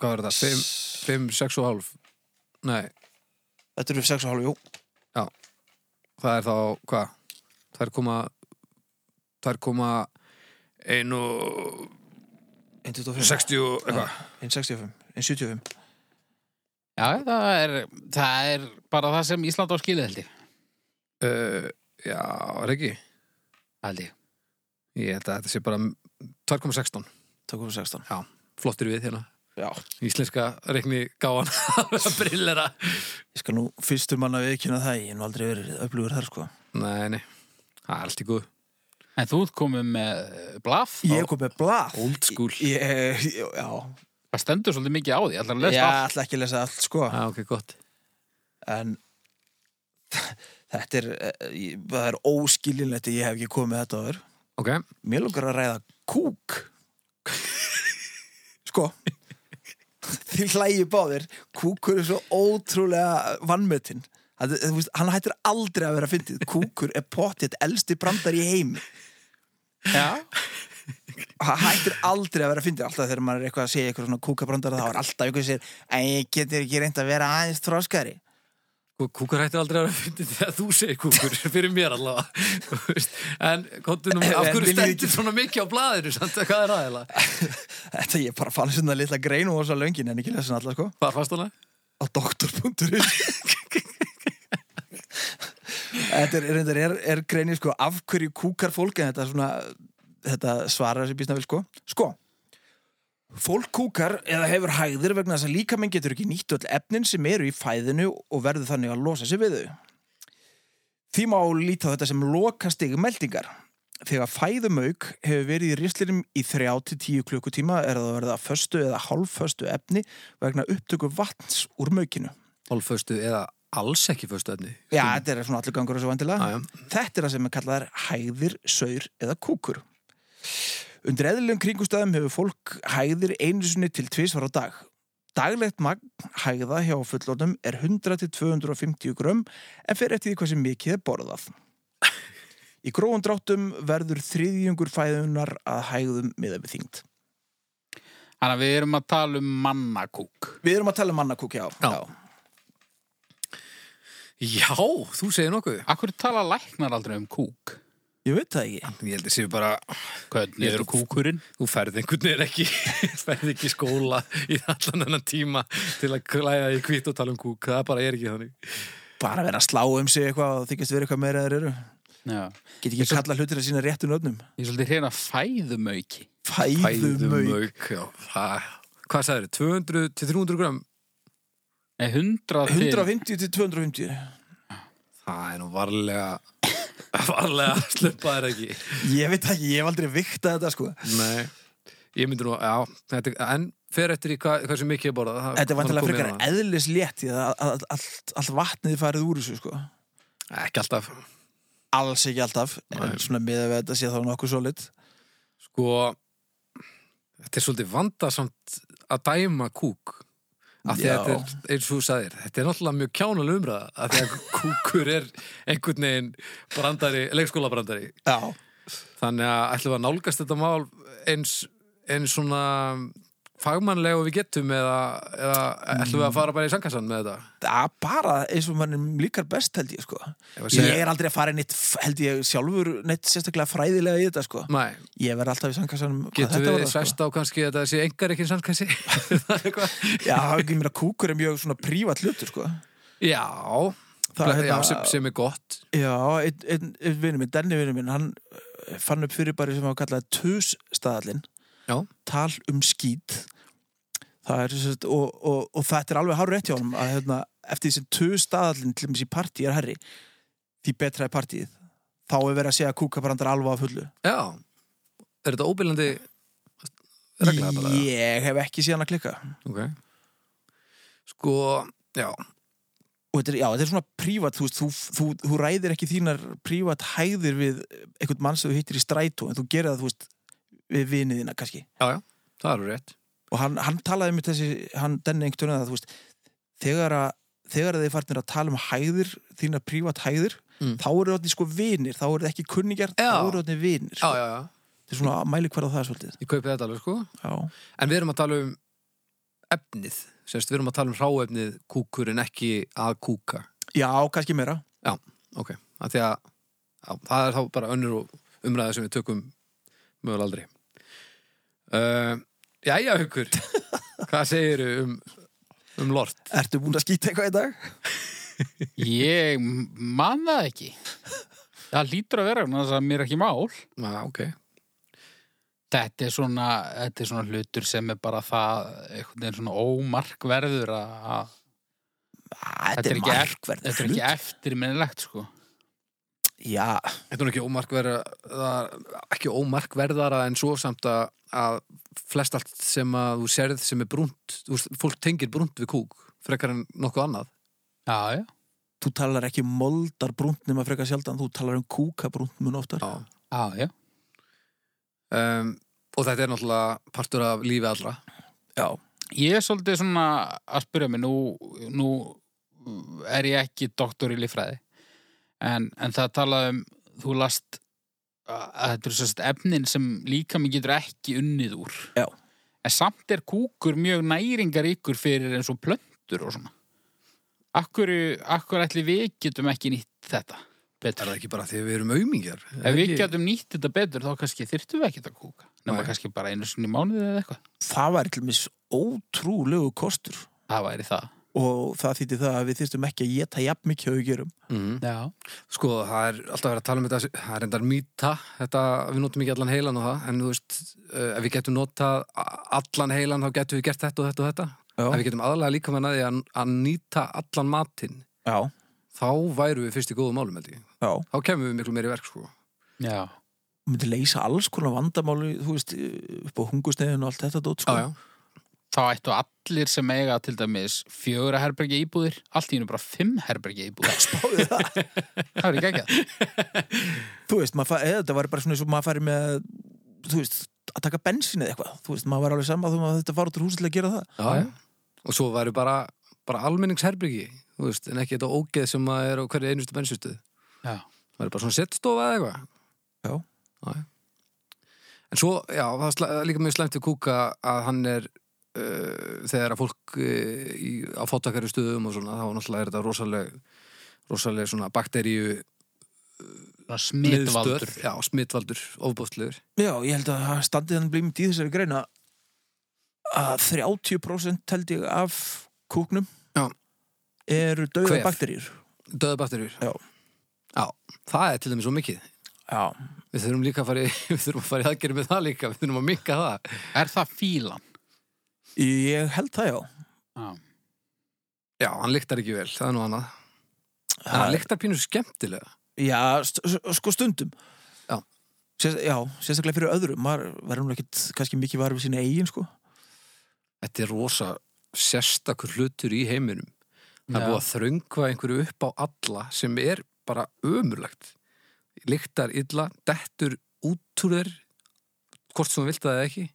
Hvað var þetta? 5, 6 og hálf? Nei, þetta eru sex og hálf, jú það er þá, hvað? Það er koma það er koma 1 og 1,25, 60 og eitthvað 1,65, 1,75 Já, það er, það er bara það sem Ísland á skilið held ég. uh, Já, er ekki? Held ég. Ég held að þetta sé bara 2,16 tökum við 16 Flottir við hérna já, Íslenska regni gáan Brillera ég skal nú fyrstum manna við ekki það, ég hef nú aldrei verið öflugur þar, sko Nei, nei, það er allt í góð En þú ert komið með blaf. ég kom með blað Old school Ég- ég- já, Það stendur svolítið mikið á því. Ég ætla að ég lesa allt. ætla ekki að lesa allt, sko Já, ok, gott en þetta er, eh, ég- það er óskilinlegt að ég hef ekki komið með þetta áður Ok, mér langar að ræða kúk sko þið hlægi báðir kúkur er svo ótrúlega vannmötin hann hættir aldrei að vera fyndið kúkur er pottið elsti brandar í heimi Já. hann hættir aldrei að vera fyndið alltaf þegar maður er eitthvað að segja eitthvað svona kúkabrandar þá er alltaf eitthvað sem segir getur ekki reynd að vera aðeins þróskari Kú- Kúkur hætti aldrei að vera fyndið þegar þú segir kúkur, fyrir mér allavega. Þú veist, en kontunum, af En hverju viljið stendur svona mikið á blaðinu, samt að hvað er aðeila? þetta ég bara fann svona litla grein og svo löngin en ekki lesa hann alltaf sko Hvað fannst hana? á doktor.is Þetta er, reyndar er, er greinir sko af hverju kúkar fólk en þetta, er svona, þetta svarar þessi býstna vel sko Sko, fólk kúkar eða hefur hægðir vegna þess að líkamenn getur ekki nýtt öll efnin sem eru í fæðinu og verður þannig að losa sig við þau Því má líta á þetta sem lokastig meldingar Þegar fæðumauk hefur verið í rislinum í 3-10 klukkutíma er það að verða föstu eða hálfföstu efni vegna upptöku vatns úr maukinu. Hálföstu eða alls ekki föstu efni. Já, þetta er svona allur gangur þessu vandilega. Já, já. Þetta er það sem er kallaðar hæðir, saur eða kúkur. Undir eðlum kringustæðum hefur fólk hæðir einu sinni til tvisvar á dag. Daglegt magn hæða hjá fullornum er 100-250 grömm en fer eftir því hvað sem mikið er borðað. Í gróðum dráttum verður þriðjungur fæðunar að hæðum miða við þyngd. Þannig að við erum að tala um mannakúk. Við erum að tala um mannakúk, já. Já. Já, þú segir nokkuð. Akkur tala læknar aldrei um kúk. Ég veit það ekki. Ég held að séu bara, Hvernig er kúkurinn? þú ferð einhvern veginn ekki, ferð ekki í skóla í allan þennan tíma til að klæða í kvít og tala um kúk. Það bara er ekki þannig. Bara vera að slá um sig eitthvað og þykist vera eitthvað meira þeir eru. Já. Get ekki kalla hlutir að sína réttu nöfnum. Ég er svolítið hreina fæðumauki. Fæðumauk. já. Það, hvað sagðir, 200 til 300 gram? Nei, 100 til... 150 til 250. Það er nú varlega varlega að sluppa þér ekki Ég veit ekki, ég hef aldrei viktað þetta sko. Nei Ég myndi nú, já, þetta, en fer eftir í hvað, hversu mikið ég borða það, Þetta er vantilega komið frekar inn á eðlis létt því að að- að allt, allt vatnið farið úr þessu sko. það. Ekki alltaf Alls ekki alltaf, en svona miða við þetta sé þá nokkuð solid. Sko Þetta er svolítið vandasamt að dæma kúk af því Já. að þetta er, eins og þú sagðir þetta er náttúrulega mjög kjánalega umræða af því að kúkur er einhvern veginn brandari, leikskólabrandari Já. Þannig að ætlum við að nálgast þetta mál eins, eins svona fagmannlega og við getum eða, eða ætlum við að fara bara í sangkassan með þetta? Það er bara eins og mannum líkar best held ég sko. Ef að Ég er aldrei að fara neitt, held ég sjálfur neitt sérstaklega fræðilega í þetta sko. Nei, Ég verð alltaf í sangkassanum hvað getum þetta við var sko. svæst á kannski að það sé engar ekki sangkassi? Já, ekki mér að kúkur er mjög svona prívat hlutur sko. Já, það, já, hérna- sem, sem er gott Já, einn ein, ein vinnu minn, Denni vinnu minn, hann eh, fann upp fyrirbæri sem hann kallaði tusstaðallin. Já. Tal um skít. Það er, sem sagt- og, og, og þetta er alveg hár rétt hjá honum að hérna, eftir því sem tusstaðallin til þessi partí er herri, því betra er partíið. Þá er verið að segja að kúkabrandar alveg að fullu. Já, er þetta óbyrlandi regla þetta? bara? Ég hef ekki síðan að klikka. Ok Sko, já, og þetta er, já, þetta er svona prívat þú, veist, þú, þú, þú ræðir ekki þínar prívat hæðir við einhvern mann sem þú hittir í strætó en þú gerir það þú veist, við vinið þína kannski það eru rétt og hann, hann talaði um þessi hann denni einhvern tönum það þú veist, þegar, að, þegar að þið farnir að tala um hæðir þínar prívat hæðir Mm. þá eru þetta sko vinir, þá eru þetta ekki kunningjar Já. þá eru þetta vinir Já, sko. já, já, þetta er svona að mæli hverða það er svolítið ég kaupi þetta alveg sko já, En við erum að tala um efnið Sérst, við erum að tala um hráefnið kúkur en ekki að kúka já kannski meira Ok, að því að já, það er þá bara önnur og umræða sem við tökum mögul aldrei uh, Jæja, haukur Hvað segirðu um, um lort? Ertu búin að skýta eitthvað í dag? Ég man það ekki. Það lítur að vera, þannig að það mér er ekki mál. Já, ok Þetta er svona, þetta er svona hlutur sem er bara það, einhvern veginn svona ómarkverður að, að Þetta er er ekki- markverð þetta er ekki eftirminnilegt, sko. Já, Þetta er nú ekki ómarkverða, ekki ómarkverðara en svo samt að, að flest allt sem að þú serð sem er brúnt, þú veist, fólk tengir brúnt við kúk, frekar en nokkuð annað. Já, já. þú talar ekki um moldar brúnt nema frekar sjaldan, þú talar um kúka brúnt mun oftar. Já. Já, já. Um, og þetta er náttúrulega partur af lífi allra. Já. Ég er svolítið svona að spyrja mig, nú, nú er ég ekki doktor í líffræði, en, en það talaði um, þú last að að þetta eru sérst efnin sem líka mig getur ekki unnið úr. Já. En samt er kúkur mjög næringaríkur fyrir eins og plöntur og svona. Akkur, akkur ætli við getum ekki nýtt þetta Er betur? það ekki bara því að við erum aumingjar? Ef við getum nýtt þetta betur, þá kannski þyrftum við ekki að kúka. Nefna Nei. kannski bara einu sinni í mánuði eða eitthvað. Það var til mis ótrúlegu kostur Það væri það. og það þýtti það að við þyrstum ekki að geta jafn mikið að við gerum. Mm. Já. Sko, það er alltaf verið að tala um þetta, það er endar mýta, þetta, við notum ekki allan heilan og það, en þú veist, uh, ef við getum notað a- allan heilan, þá getum við gert þetta og þetta og þetta. Já. Ef við getum aðalega líka með næði að, að nýta allan matinn, Já. þá væru við fyrst í góðum málum, held ég. Já. Þá kemur við miklu meiri verk, sko. Já. Þú myndir leysa alls konar vandamáli, þú veist, upp á hungusteginu og allt þetta dót, sko. þá ættu allir sem eiga til dæmis fjögra herbergja íbúðir, allt í hennu bara fimm herbergja íbúðir. Spáðu það. Það er ekki ekki. þú veist, maður fa- eða þetta var bara svona eins og maður færi með, þú veist, að taka bensin eða eitthvað. Þú veist, maður var alveg saman þú maður þetta fara út úr húsi til að gera það. Já, já. Og svo væri bara, bara almenningsherbyggi, þú veist, en ekki þetta ógeð sem að er á hverju einustu bensustuð. Já. Það væri bara svona settstofa eða eitthvað. Já. já. já. En svo, já, það er slæ- líka mjög slæmt við kúka að hann er uh, þegar að fólk uh, í, á fátakari stöðum og svona, þá náttúrulega er þetta rosaleg, rosaleg svona bakteríu Svona smitvaldur. miðstöð. Já, smitvaldur, ofbústlegur. Já, ég held að það standið hann blímið í þessari greina að 30% held ég af kúknum Já. eru dauða Kvef. bakterýr. Döða bakteríur. Já. Já, það er til dæmis svo mikið. Já. Við þurfum líka að fara í, við þurfum að fara í aðgerið með það líka, við þurfum að mikka það. Er það fílan? Ég held það já. Já. Já, hann lyktar ekki vel, það er nú annað. En hann lyktar pínu skemmtilega. Já, st- s- sko stundum. Já. Sér, já, sérstaklega fyrir öðrum. Maður verður nú ekkit kannski mikið varfið sína eigin sko. Þetta er rosa sérstakur hlutur í heiminum. Það er Já. búið að þröngva einhverju upp á alla sem er bara ömurlegt. Lyktar illa, dettur út úr þér, hvort sem þú vilt það eða ekki.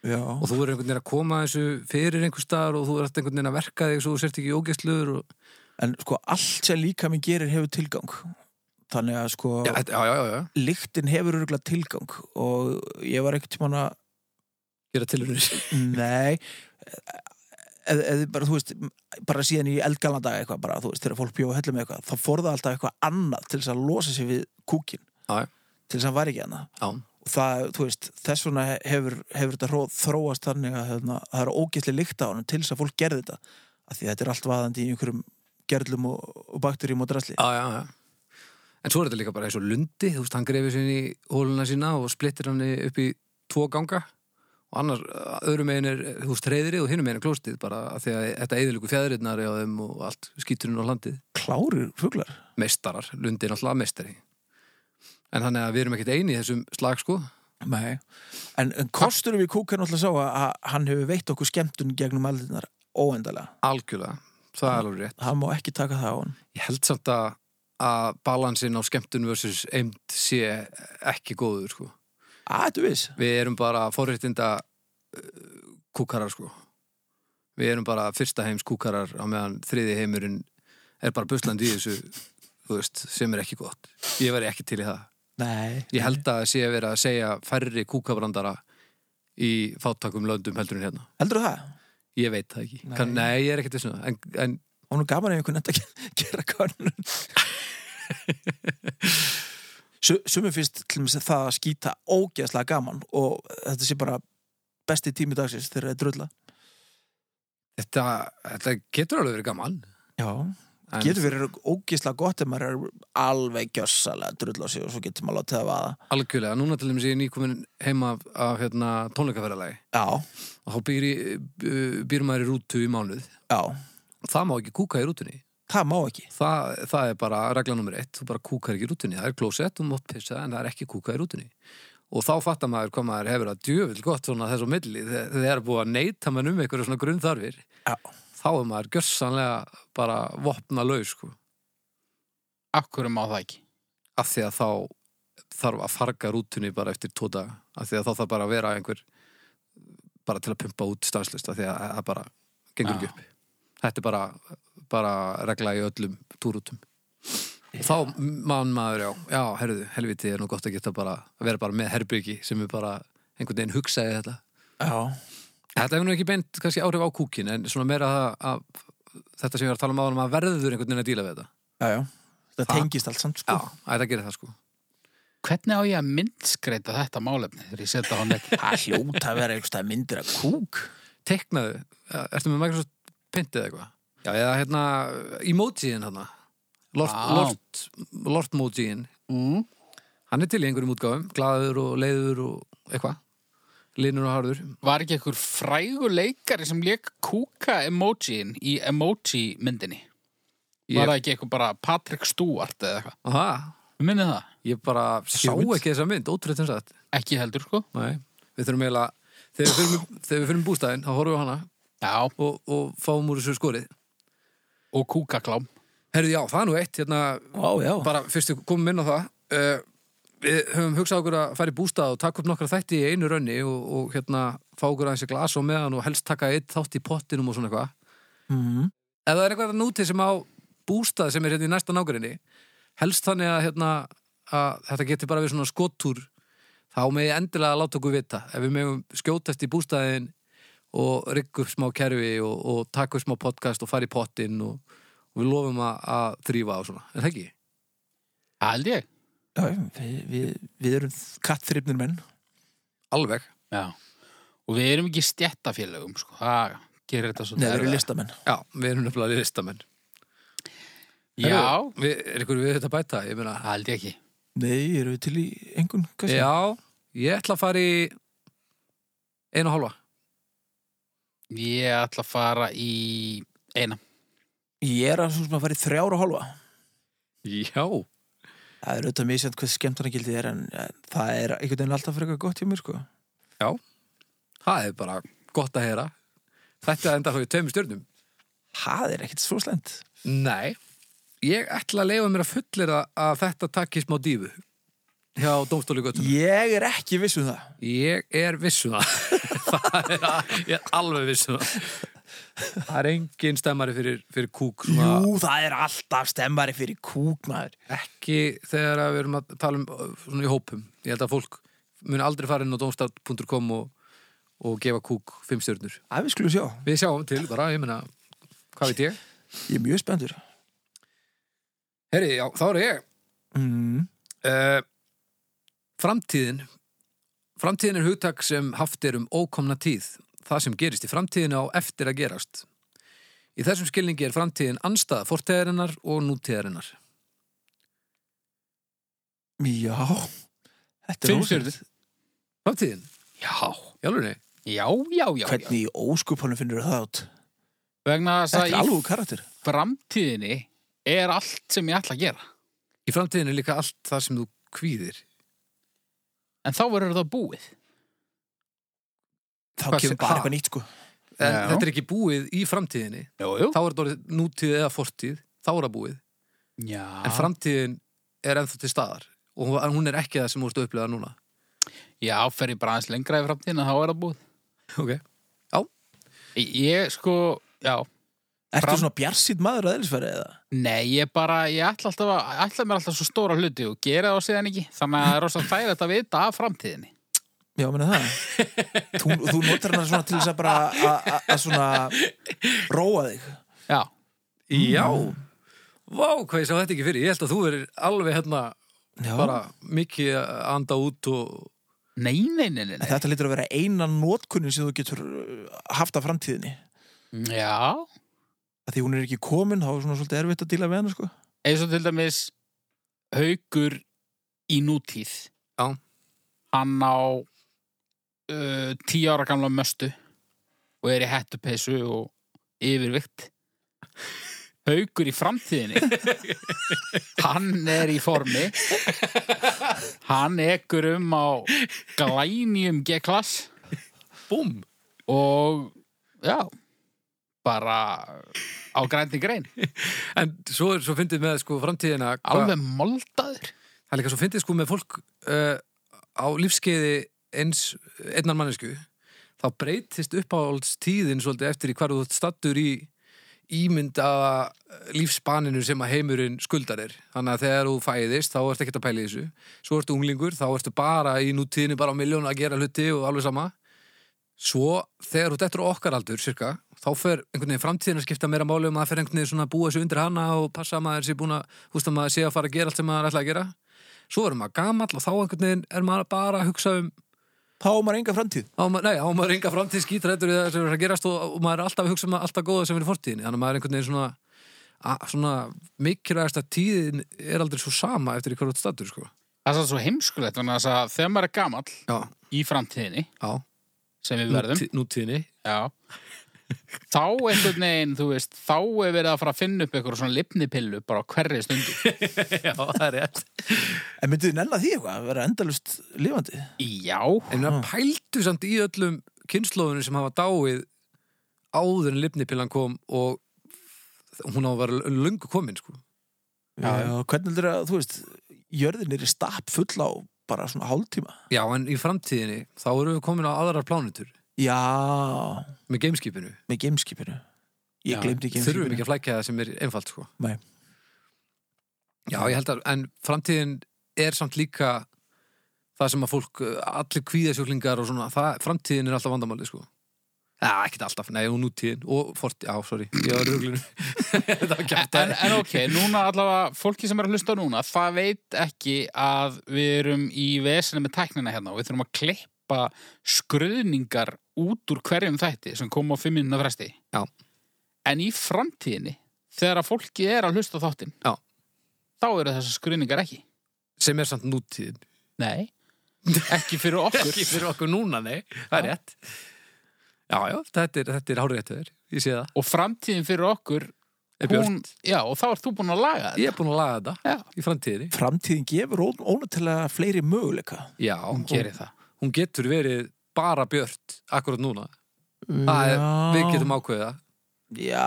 Já. Og þú er einhvern veginn að koma þessu fyrir einhver staðar og þú er alltaf einhvern veginn að verka þig svo þú sért ekki ógæstluður. Og... En sko allt sem líka minn gerir hefur tilgang. Þannig að sko... Já, þetta- já, já, já, já. Lyktin hefur örgulega tilgang og ég var ekkert tímann að Gera tilhörnir. Nei eða eð, bara, þú veist, bara síðan í eldgalandaga eitthvað bara, þú veist, þegar fólk bjóð hellum eitthvað þá fór það alltaf eitthvað annað til þess að losa sig við kúkin Já, já. til þess að hann var ekki annað Já. og það, þú veist, þess vegna hefur, hefur þetta hró, þróast hérna, þannig að hefna, það er ógæsli líkt á honum til þess að fólk gerði þetta af því að þetta er allt vaðandi í einhverjum gerlum og, og bakterjum og drasli Já, já, já. En svo er þetta líka bara eins og lundi, þú veist, hann grefið sér inn í hóluna sína og splittir hann í- upp í tvo ganga og annar, eh, öðrum megin er, þú veist, reyðrið og hinum megin er klóstið bara af því að þetta eðilíku fjæðriðnar á þeim og allt skýturinn á landið. klárir fuglar Meistarar, lundi er náttúrulega meistari. En þannig að við erum ekkert eini í þessum slag, sko. Nei. en, en kosturum við kúk er náttúrulega sá að, að hann hefur veitt okkur skemmtun gegnum aldirnar óendalega Algjörlega. Það er alveg rétt. hann má ekki taka það á hann Ég held samt að, að balansin á skemmtun versus eimt sé ekki góður, sko. að þetta viss Við erum bara forréttinda uh, kúkarar, sko. Við erum bara fyrsta heims kúkarar á meðan þriði heimurinn er bara buslandi í þessu, þú veist, sem er ekki gott. Ég væri ekki til í það. Nei, Ég held að sé að vera að segja færri kúkabrandara í fáttakum löndum heldur en hérna. heldur það? Ég veit það ekki. Nei. Nei, kan, nei ég er ekkert þessum það. En, en Hún er gaman ef einhvern enda að gera kannun Sumum finnst til mér það að skýta ógeðslega gaman og þetta sé bara besti tími dagsins þegar það er drulla þetta, þetta getur alveg verið gaman. Já, En, getur verið ógeðslega gott ef maður er alveg gjössalega að drulla á sig og svo getur maður látið að vaða Algjörlega, núna til dæmis ég er nýkomin heim af, af hérna, tónleikaferðalagi Já, og þá býr, í- b- býr maður í rútu í mánuð já, það má ekki kúka í rútunni það má ekki það, það er bara regla nummer eitt þú bara kúkar ekki í rútunni, það er klósett þú mátt pissa en það er ekki kúka í rútunni og þá fattar maður hvað maður hefur að djöfull gott svona þess á milli, þegar þegar er búið að neyta mann um einhverju svona grunnþarfir Já, þá er maður gjörsanlega bara vopna laus sko, Akkur má það ekki. af því að þá þarf að farga rútunni bara eftir tvo daga af því að þá þarf bara að vera einhver bara til að pumpa út stanslist af því að það bara gengur Já. ekki upp þetta er bara, bara regla í öllum túrútum og þá mann maður, já, já, herðu, helviti er nú gott að geta bara, að vera bara með herbyggi sem er bara einhvern veginn hugsaði þetta já, Þetta hefur nú ekki beint kannski áhrif á kúkin en svona meira það að, að þetta sem ég var að tala um áðan að maður verður einhvern veginn að díla við þetta já, já. Það Það- tengist allt samt sko Já, þetta gerir það sko Hvernig á ég að myndskreita þetta málefni þegar ég setja hann ekki? Það hljóta að vera einhverstað myndir að kúk Teknaðu, Eh, ertu með Microsoft Paint eða eitthvað? Já, eða hérna emojiðin hann Lort, Já. lort, lort mojiðin Mm. Hann er til í einhverjum útgáfum, glaður og leiður og eitthvað Linur og harður Var ekki einhver frægur leikari sem leik kúka emojiin í emoji myndinni? Ég- Var það ekki eitthvað bara Patrick Stewart eða eitthvað? Aha, Minnið það? Ég bara sá hugmynd. ekki þessa mynd, ótrúið þess að Ekki heldur sko? Nei, við þurfum eiginlega Þegar við fyrir, þegar við fyrir bústæðin, þá horfum við á hana Já, og, og fáum úr þessu skorið og kúkaklám. Herðu, já, það er nú eitt, hérna, Ó, já, bara fyrst við komum inn á það. Uh, við höfum hugsað okkur að fara í bústað og taka upp nokkra þætti í einu rönni og, og hérna fá okkur aðeins í glas og meðan og helst taka eitt þátt í pottinum og svona eitthvað. Mhm. Ef það er eitthvað nútið sem á bústað sem er hérna í næsta nágrinni, helst þannig að, hérna, að þetta geti bara við svona skottúr, þá megi endilega láta okkur vita. Ef við megum skjótast í bústaðin og rigga upp smá kerfi og, og taka upp smá podcast og fara í pottin og, og við lofum að, að þrýfa og svona. Er það ekki? Það held ég. já, já, við, við, við erum kattþrifnir menn Alveg. Já. Og við erum ekki stjættafélögum sko. Það gerir þetta Nei, svona við erum erfiðara. listamenn Já, við erum nefnilega listamenn. Já, Herru, Við, er ykkur við þetta að bæta? Ég meina, það held ég ekki. Nei, erum við til í engun kannski? já, ég ætla að fara í einu og hálfa. Ég ætla að fara í eina. Ég er að svo sem að fara í þrjára og hálfa Já. Það er auðvitað misjönd hvað skemmtunargildið er en en það er einhvern veginn alltaf frekar gott hjá mér sko Það er bara gott að heyra. Þetta enda hóið tveimur stjörnum. Það er ekkert svo slend Nei. Ég ætla að leifa mér að fullera að þetta takki smá dífu hjá Dómstóli Göttunum. Ég er ekki viss um það Ég er viss um það. það er, ég er alveg viss um það. Það er engin stemmari fyrir, fyrir kúk. svona- Jú, það er alltaf stemmari fyrir kúknaður ekki þegar að við erum að tala um uh, svona í hópum ég held að fólk mun aldrei fara inn á domstaf.com og, og gefa kúk fimm stjörnur Að við skulum sjá við sjáum til bara, ég meina hvað veit ég? Ég er mjög spenntur Herri, já, þá er ég mm. uh, Framtíðin Framtíðin er hugtak sem haft er um ókomna tíð það sem gerist í framtíðinu á eftir að gerast Í Í þessum skilningi er framtíðin anstaða fortíðarinnar og nútíðarinnar. Já, þetta er Fimm ósvöld. stjörnur. Framtíðin? Já, Jálfurni? já, já, já. Hvernig í óskupanum finnur það át? Vegna þess Þetta að er í alveg karakter. framtíðinni er allt sem ég ætla að gera. Í framtíðin er líka allt það sem þú kvíðir. En þá verður það búið. Þá Hvað kemur sé- bara ha? eitthvað nýtt sko. En Já. þetta er ekki búið í framtíðinni. Jú, jú. Þá er þetta orðið nútíð eða fortíð. Þá er það búið. Já. En framtíðin er ennþá til staðar. Og hún- hún er ekki það sem þú ert að upplega núna. Já, fer ég bara aðeins lengra í framtíðinni, þá er það búið. Ok. Ég, sko, já. Ertu Fram- svona bjarsýtt maður að eðlisfæri eða? Nei, ég bara, ég ætla, alltaf að, ætla mér alltaf svo stóra hluti og gera það síðan ekki. Þannig að það er rosa þægilegt að vita af framtíðinni. Já, meina það. þú, þú notar hana svona til þess að bara a- a- að svona róa þig. Já. Já. Mm. Vá, hvað ég sá þetta ekki fyrir. Ég held að þú er alveg hérna Já. bara mikið að anda út og... Nei, nei, nei, nei. En nei. Þetta lítur að vera eina notkunni sem þú getur uh, haft af framtíðinni. Já. Að því hún er ekki komin, þá er svona svolítið erfitt að díla við hana, sko. eins og til dæmis haukur í nútíð Já. hann á uh, tíu ára gamla möstu og er í hettupeysu og yfirvikt haukur í framtíðinni hann er í formi hann ekkur um á glænjum G-klass Búm! og já bara á grændi grein En svo, er- svo fyndið með sko framtíðina hva- alveg moldaður Það er líka svo fyndið sko með fólk uh, á lífskeiði eins einnar mannesku þá breytist uppáhaldstíðin svolítið eftir í hvar þú stattur í ímyndaða lífspaninu sem að heimurinn skuldar er þannig að þegar þú fæðist þá ertu ekkert að pæla í þessu svo ertu unglingur, þá ertu bara í nútíðinu bara á miljón að gera hluti og alveg sama svo þegar þú dettur á okkar aldur cirka, þá fer einhvern veginn framtíðin að skipta meira máli um að fer einhvern veginn svona að búa sig undir hana og passa að maður sé búin að, þú veist að maður sé að fara að gera allt sem maður ætla að gera svo er maður gamall og þá einhvern veginn er maður bara að hugsa um Þá á maður enga framtíð. Á, ma- nei, á maður enga framtíð skítrættur í það sem er að gerast og, og maður er alltaf að hugsa um alltaf góða sem er í fortíðinni þannig að maður er einhvern veginn svona, a, svona mikilvægast að tíðin er aldrei svo sama eftir í hverju statur sko. Það er samt svo heimskulegt þannig að það- þegar maður er gamall Já, í framtíðinni já, sem við verðum Nútí- nútíðinni já, þá einhvern veginn, þú veist, þá er verið að fara að finna upp eitthvað svona lipnipillu bara á hverri stundu. Já, það er rétt En myndið þið nennar því eitthvað að vera endalust lifandi? Já, En það pældu samt í öllum kynnslóðunum sem hafa dáið áður en lifnipillan kom og hún á að vera löngu komin sko. Já, Eh, hvernig heldur að, þú veist, jörðin er í stapp full á bara svona hálftíma? Já, en í framtíðinni þá erum við komin á aðrar plánutur Já, með gameskipinu með gameskipinu. Ég Já, glemdi þurfum gameskipinu. ekki að flækja það sem er einfalt sko. Nei. Já, ég held að en framtíðin er samt líka það sem að fólk, uh, allir kvíðasjóklingar og svona, það, framtíðin er alltaf vandamáli sko. Já, ekkert alltaf, nei, og nútíðin og fort, já, sorry, ég var röglunum Það var kjátt en, en ok, núna allavega, fólki sem er að hlusta núna, það veit ekki að við erum í vesinu með tæknina hérna og við þurfum að klippa skröðningar út úr hverjum þætti sem kom á fimm minna fresti. Já. En í framtíðinni, þegar að fólki er að hlusta á þáttinn, Já. þá eru þessar skröðningar ekki. sem er samt nútíðin Nei, ekki fyrir okkur. Ekki fyrir okkur núna, nei, það er Já. rétt Já, já, þetta er, þetta er hárétt þér, ég sé það Og framtíðin fyrir okkur, Er björt? hún, já, og þá ert þú búin að laga þetta. Ég er búin að laga þetta Já, í framtíðinni Framtíðin gefur ó- ónatilega fleiri möguleika. Já, hún gerir það. hún getur verið bara björt akkurat núna Það er, við getum ákveðið það. Já.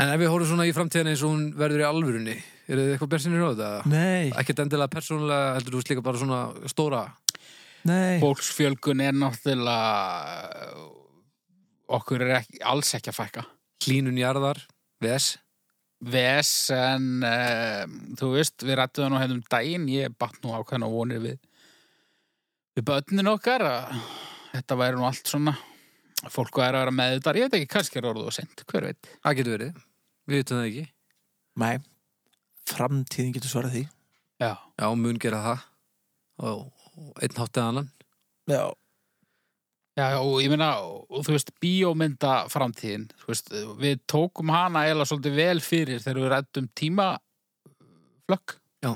En ef við horfum svona í framtíðan eins og hún verður í alvörunni, eru þið eitthvað björnsinni ráð það? Nei, Ekkert endilega persónulega, heldur þú veist líka bara svona stóra. nei. Fólksfjölgun er náttúrulega, eh, okkur er ekki, alls ekki að fækka. Hlínun jarðar, VS. Vesen, um, þú veist, við rættum það nú hérna um daginn, ég batt nú ákveðna vonir við, við börnin okkar að þetta væri nú allt svona, fólk væri að vera með þetta, ég veit ekki, kannski er orðið og sent, hver veit. Það getur verið. Við veitum það ekki. Nei. Framtíðin getur svarað því. Já. Já, mun gera það. Og og einn háttið annan. Já. Já, og ég meina, og þú veist, bíómynda framtíðin, þú veist, við tókum hana eða svolítið vel fyrir þegar við rættum tímaflökk. Já.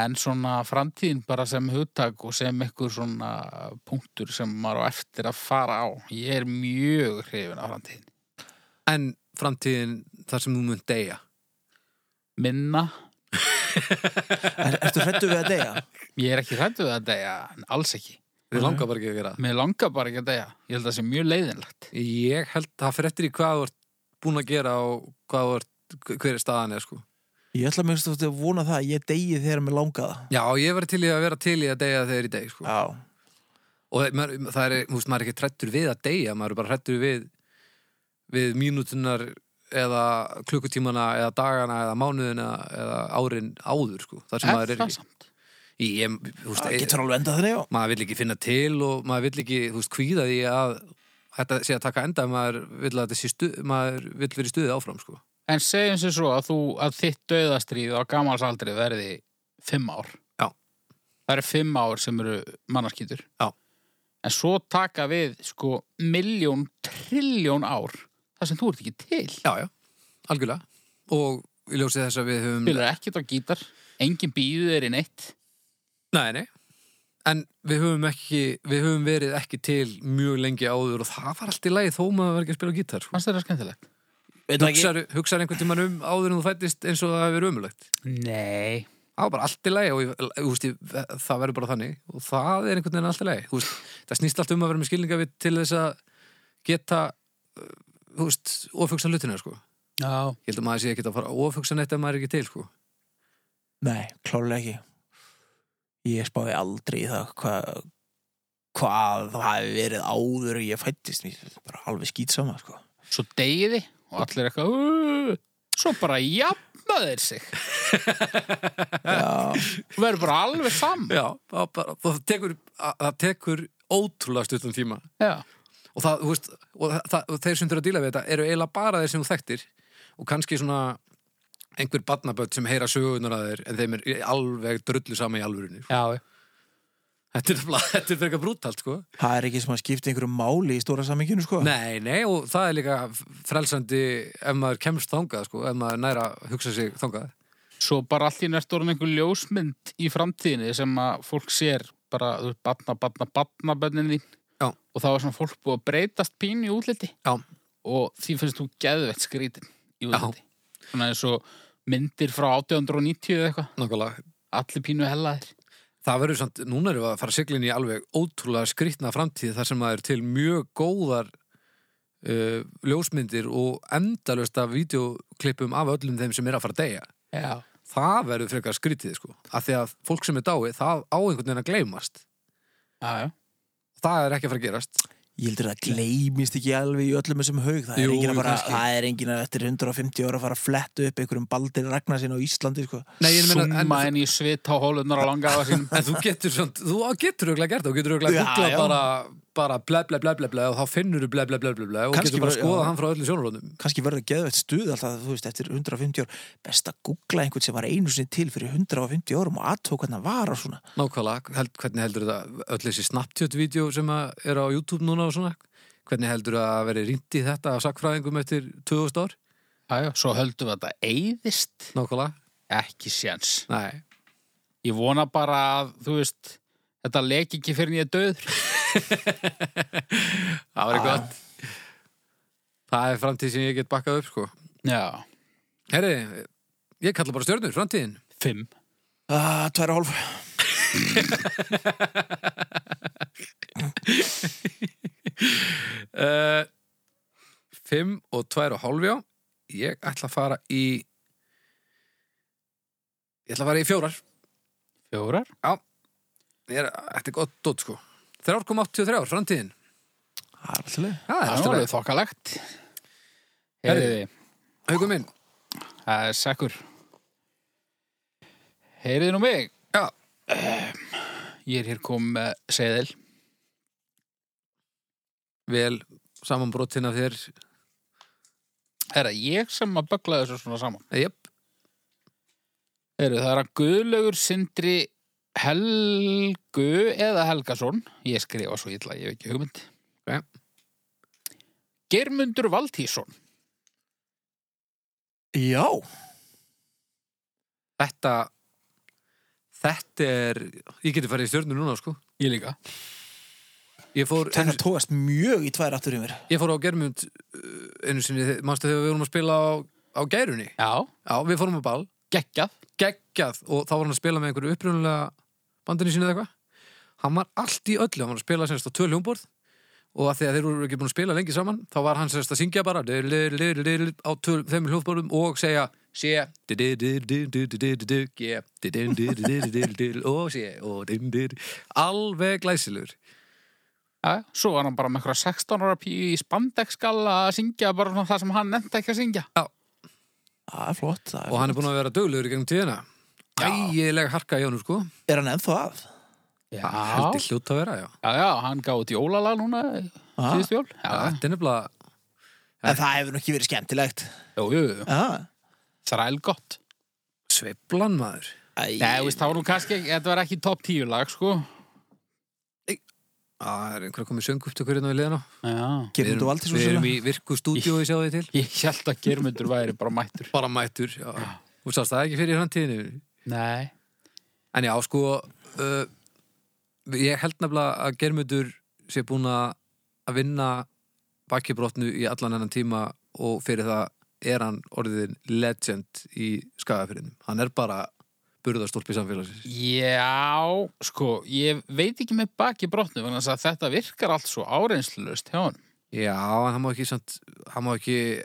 En svona framtíðin bara sem hugtak og sem einhver svona punktur sem maður á eftir að fara á. Ég er mjög hrifin á framtíðin. En framtíðin þar sem þú mun deyja Minna, Er, ertu hrættu við að deyja? ég er ekki hrættu við að deyja, en alls ekki. Þú langar bara ekki að gera það. Mér langar bara ekki að deyja. Ég held að það sé mjög leiðinlegt. Ég held það fyrir eftir í hvað þú ert búin að gera og hvað þú ert hver er staðan eða sko Ég ætla mér að vona það að ég deyji þegar mér langa það. Já, ég verði til í að vera til í að deyja þegar í deg sko. Já. og það- maður, það er, þú veist, maður er ekki trættur við að deyja maður er bara trættur við við mínútunar eða klukkutímana eða dagana eða mánuðina eða árin áður sko. þar sem maður er það ekki samt? Í- ég, þú veist, Það ég, getur alveg endað þannig, já. maður vill ekki finna til og maður vill ekki, þú veist, kvíða því að þetta sé að taka enda maður vill, að þetta sé stu, maður vill verið stuðið áfram sko. En segjum sér svo að þú að þitt döðastríð á gamalsaldri verði fimm ár. Já. Það eru fimm ár sem eru mannarskýtur. Já. En svo taka við sko miljón, trilljón ár þar sem þú ert ekki til. já, já, algjörlega og ég ljósi þess að við höfum Þú er ekkert á gítar, engin býðu er í neitt. Nei, nei. En við höfum, ekki, við höfum verið ekki til mjög lengi áður og það var allt í lagi þó maður var ekki að spila á gítar. Sko. Fannst þér það skemmtilegt? Veit það ekki. Hugsar, hugsar einhvern tímann um áður en þú fættist eins og það hefur verið ömulegt. Nei. Það var bara allt í lagi og ég, þú veist, ég, það verður bara þannig og það er einhvern veginn allt í lagi. Þú Veist, það snýst allt um að vera með skilninga við til þess að geta uh, þú veist, ofugsa hlutina. Sko. Já. Ég held að maður sé ekki að fara að ofugsa neitt ef maður er ekki til. Sko. Nei, klálega ekki. Ég spáði aldrei í það hvað hvað það hefði verið áður en ég fættist. Mér er bara alveg skýtsama, sko. Svo degiði og allir eitthvað, "Ú." svo bara jafnaðir sig. Já. Þú verður bara alveg saman. Já, það, bara, það, tekur, það tekur ótrúlega stuttum tíma. Já. og, það, þú veist, og það, það, og þeir sem þurfa að díla við þetta eru eiginlega bara þeir sem þú þekktir og kannski svona einhver barnaböld sem heyra sögunar að þeir en þeim er alveg drullu sama í alvörunni sko. Já. þetta er, nefnilega- þetta er fyrir brútalt sko. Það er ekki sem að skipta einhverju máli í stóra saminginu, sko. nei, nei, og það er líka frelsandi ef maður kemst þangað sko, ef maður næra hugsa sig þangað svo bara allt í næst orðin einhver ljósmynd í framtíðinni sem að fólk sér bara, þú veist, batna, batna, batna bönnin þín Já. og þá er svona fólk búið að breytast pínu í útliti Já. og því finnst þú geðveitt skrítin í útliti svona eins og myndir frá 1890 eða eitthvað, Nákvæmlega. allir pínu hellaðir það verður samt, núna erum við að fara siglinn í alveg ótrúlega skrýtna framtíð þar sem maður er til mjög góðar uh, ljósmyndir og endalösta videoklippum af öllum þeim sem er að fara að deyja Já. það verður frekar skrítið sko af því að fólk sem er dáið, það á einhvern veginn að gleymast Já, já. það er ekki að fara að gerast Ég heldur að það gleymist ekki alveg í öllum þessum haug. Það er Jú, enginn að bara, kannski. það er enginn að eftir 150 ára fara að fletta upp einhverjum baldir Ragnarsin á Íslandi, sko. Nei, ég meina, en, Súma inn í svita hólunar á langa á sínum en þú getur svont, þú getur auðvitað gert það, þú getur auðvitað Já, googlað já. bara, bara ble ble ble ble ble og þá finnur þú ble ble ble ble ble og Kannski getur bara bara- að skoða já. hann frá öllum sjónarónum kannski verður geðveitt stuð alltaf, þú veist, eftir 150 ár best að googla einhvern sem var einu sinni til fyrir 150 árum og aðtók hvernig hann var og svona nákvæmlega, held, hvernig heldur þetta öll þessi Snapchat-vídeó sem að er á YouTube núna og svona, hvernig heldur það að veri rýnt í þetta af sakfræðingum eftir 2000 ár, Já, já. Svo höldum við að þetta eyðist nákvæmlega ekki séns. nei, Ég vona bara að, þú veist þetta leki ekki fyrir nýja döður það verið Ah. gott það er framtíð sem ég get bakkað upp sko Já, Herri, ég kalla bara stjörnur, framtíðin. fimm ah, tværa hálf Uh, fimm og tvær og hálfjá. Ég ætla að fara í... Ég ætla að fara í fjórar. Fjórar? Ég er, þetta er gott dótt, sko. 3,83, framtíðin. það er alltaf Það leið. er Það er alltaf alveg leið. þokkalegt. Herðu. Heyriði, Haugum minn. það er sekkur. Heyriði nú mig. Já. Ég er hér kom með seðil. Vel samanbrotinn af þér. Herra, ég sem að bögla þessu svona saman. Jöp. Heyriði, það er að Guðlaugur Sindri Helgu eða Helgason Ég skrifa svo illa, ég hef ekki hugmynd Ok. Geirmundur Valtísson Já, Þetta Þetta er Ég geti farið í stjörnu núna sko Ég líka Ég fór, þetta tóðast mjög í tvær aftur í mér ég fór á Germund uh, einu sinni, manstu þegar við vorum að spila á, á gærunni? Já, Já, við fórum á ball geggjað geggjað og þá var hann að spila með einhverju upprunalega bandinu sinni eða eitthvað hann var allt í öllu, hann var að spila semst á töl hljómborð og að því að þeir voru ekki búin að spila lengi saman þá var hann semst að syngja bara lir, lir, lir, lir, á töl, þeim hljómborðum og segja sé di, di, di, di, di, di, di, di, di, ge, di, di, di, di, di, di, di, di, og sé og di, di, di. alveg glæsilegur Já, Svo var hann bara með einhverja 16 ára píu í spandekskalla að syngja bara svona það sem hann nefndi ekki að syngja Það er flott það og hann er búin að vera döglegur í gegnum tíðina Já. ægilega harka í honum sko flott. Er hann ennþá að? Já, heldur hljóta að vera já. já, já hann gáði út jólalag núna Ah. síðust jól Já, Já, þetta er nefnilega En það hefur nú ekki verið skemmtilegt jú, jú, jú. Já. þræl gott sveiflan maður Æ, Nei, þú veist, það var nú kannski, ekki- þetta var ekki topp 10 lag, sko Það er einhver að koma í söngu upptökur hérna við liðan á. Já Við Geirmundur erum- Valtís og Við erum svona í virku stúdíói, sjáðu þið til. Ég held að Geirmundur væri bara mættur Bara mættur, já. Þú sást það ekki fyrir í framtíðinu. Nei En já, sko, uh, ég held nefnilega að Germundur sé búin að að vinna bakkibrotnu í allan hennan tíma og fyrir það er hann orðin legend í skagafyrinum. Hann er bara burðarstólpi samfélagsins. Já, sko, ég veit ekki með baki brotnu vegna þess að þetta virkar allt svo áreynslulust hjá hann. Já, en hann má ekki, samt, hann má ekki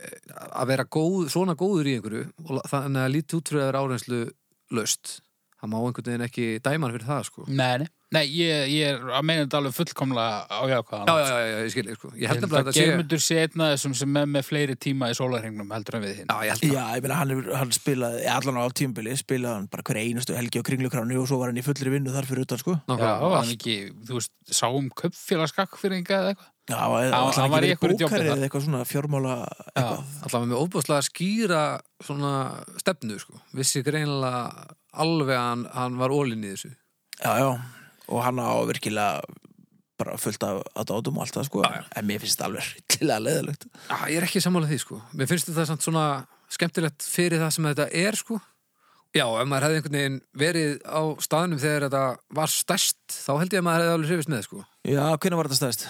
að vera góð, svona góður í einhverju og la- þannig að lítið útröður árenslu löst. Hann má einhvern veginn ekki dæman fyrir það, sko. Nei, nei. Nei, ég, ég er að meina þetta alveg fullkomlega á jákvæðan. Já, já, já, já, ég skil, sko. Ég held Ég held nefnilega að að þetta sé... Geirmundur sé einn af þessum sem er með fleiri tíma í sólarhengnum heldur en við hinn. Já, ég held Já, ég meina hann, hefur- hann spilaði, ja, allan á tímbili spilaði hann bara hver einustu helgi á kringlukránu og svo var hann í fullri vinnu þar fyrir utan sko Já, nákvæmlega. var hann ekki, þú veist, sáum kaupfélagskakkfyrringa eða eitthvað? Já, hann, hann var hann var í ekki einhverju verið djópi bókarið þar. eða eitthvað svona fjármála eitthvað. allavega með óbúðslega skýra svona stefnu sko. vissi greinilega alveg að hann, hann var ólinn í þessu Já, já, og hann á virkilega bara fullt af að dátum og allt það sko en mér finnst þetta alveg rillilega leðilegt Já, Ah, ég er ekki sammála því sko mér finnst þetta samt svona skemmtilegt fyrir það sem þetta er sko já, ef maður hefði einhvern veginn verið á staðnum þegar þetta var stærst þá held ég að maður hefði alveg hrifist með sko Já, hvernig var þetta stæðist?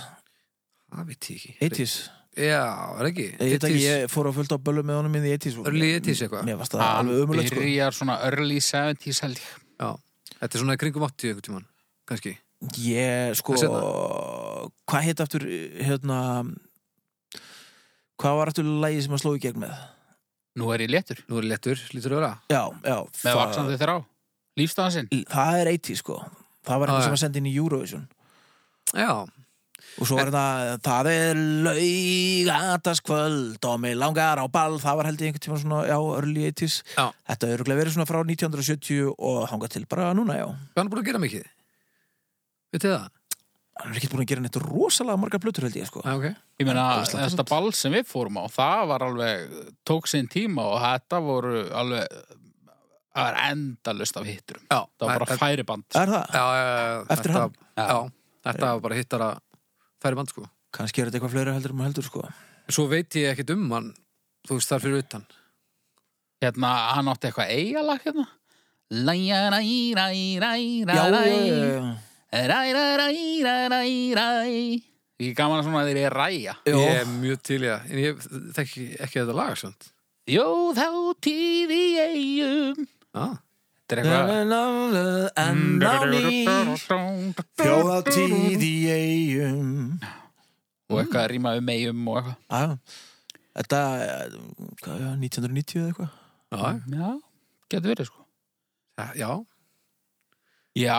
það veit ég ekki 80s? já, er ekki Ég, veit ekki, 80s, ég fór á fullt á böllum með honum inn í 80s og- Early 80s eitthvað Mér varst það alveg umulegt sko byrjar svona early 70s held ég. já, þetta er svona í kringum 80 einhvern tímann kannski Ég, sko, Hvað seinna? hvað hétt aftur, hérna, hvað var aftur lagið sem að sló í gegn með? Nú er ég léttur, nú er léttur, lítur að vera Já, já, með það, vaksandi þrá. Lífstæðansinn. það er 80, sko. Það Ah, Já, var einhver já. sem að senda inn í Eurovision. já, Og svo var þetta, það er laugataskvöld og mig langar á ball, það var held ég einhvern tíma svona, já, early 80s. Já. Þetta er örgulega verið svona frá 1970 og hangað til bara núna, já. hvað hann er búin að gera mikið veit það? Hann er ekki búin að gera neitt rosalega marga blötur held ég, sko. Já, Ah, ok Ég meina, Á Íslandi þetta samt. ball sem við fórum á, það var alveg, tók sinn tíma og þetta voru alveg, það var endalust af hitturum. Já, Það var bara þetta- færiband. Er það? já, já, já, já, Eftir þetta- hann? Já, þetta var bara hittara færi mann sko Kannski er þetta eitthvað fleira heldur um heldur, sko. Svo veit ég ekkert um hann Þú veist þar fyrir utan Hérna, hann átti eitthvað eigalag hérna. Læja, ræ, ræ, ræ, ræ, Já, já, ræ, já, já, já. ræ, ræ, ræ, ræ, ræ, ræ. Ég er gaman að svona þeir eru ræja. Jó. Ég er mjög til í það En ég þekki ekki þetta lag svönd Jó, þá tíði eigum. Já, Þetta er eitthvað... Mm, En á ný Þjóðatíð í eigum Og eitthvað að rýma um eigum og eitthvað. Á, Þetta, eh, hvað er það, 1990 eða eitthvað? já, Já, getur verið sko. já, já. Já,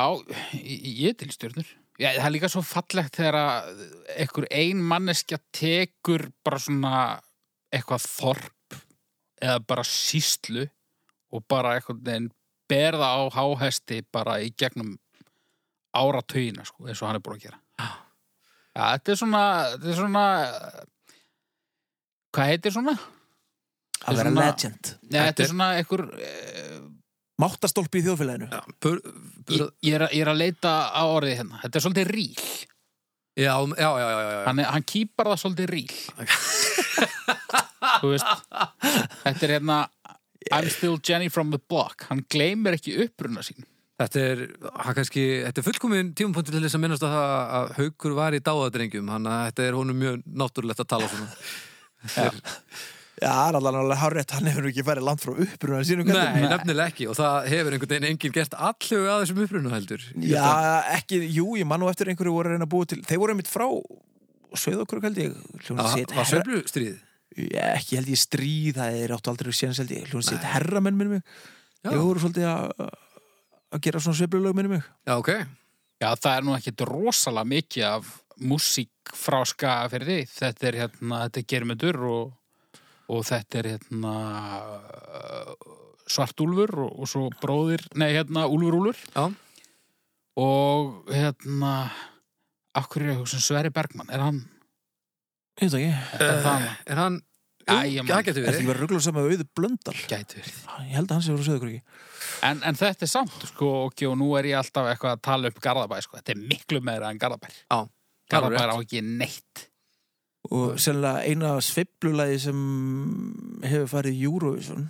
ég ég er til stjörnur. Já, það er líka svo fallegt þegar að einhver ein manneskja tekur bara svona eitthvað þorp eða bara síslu og bara eitthvað neginn berða á háhesti bara í gegnum áratugina, sko, eins og hann er búin að gera. Já, þetta er svona, þetta er svona, hvað heitir svona? Að vera svona- legend Nei, þetta Þetta er er- svona einhver eh, Máttastólpi í þjóðfélaginu Já, bur, Ég, bur, ég, er, að- ég er að leita á orðið hérna. Þetta er svolítið ríl. já, um- já, já, já, já, já. Hann, er- hann kýpar það svolítið ríl. Þú veist, þetta er hérna I'm still Jenny from the block. Hann gleymir ekki uppruna sín. Þetta er, hann kannski, þetta er fullkomin tímapunktur til þess að minnast að það að haukur var í dáðadrengjum, hann að þetta er honum mjög náttúrulegt að tala svona. Já, það er allan alveg hárétt, hann hefur ekki farið land frá uppruna sínum kallinum. Nei, nefnilega ekki og það hefur einhvern veginn enginn gert allu að þessum uppruna heldur. Ég held að- Já, ekki, jú, ég man nú eftir einhverju voru að reyna að búa til Þeir voru einmitt frá Sveðokrug held ég að Hljónsett var sveiflustríð. Ekki held ég stríð, það er áttu aldrei séns held ég Hljónsett herramenn minnum mig Já. Þeir voru svolítið að að gera svona sveiflulög minnum mig Já, ok. Já, það er nú ekkit rosalega mikið af músík frá skagafyrði. Þetta er hérna, þetta er germendur og, og þetta er hérna svartúlfur og, og svo bróðir, nei hérna úlfur-úlfur Já, og hérna akkur er ég að hugsa um Sverri Bergmann, er hann, Ég veit ekki, er það hann? er hann, Æ, ég man. það getur er þetta verið. ekki verið rugglar saman við auðu blöndal Gæti verið. Ég held að hans hefur frá Sveðokrug En, en þetta er samt, sko, ok, og nú er ég alltaf eitthvað að tala upp Garðabæ, sko. Þetta er miklu meira en Garðabær. Já, það er Garðabær á rétt. ekki neitt. Og sennilega eina sveiflulagi sem hefur farið í Eurovision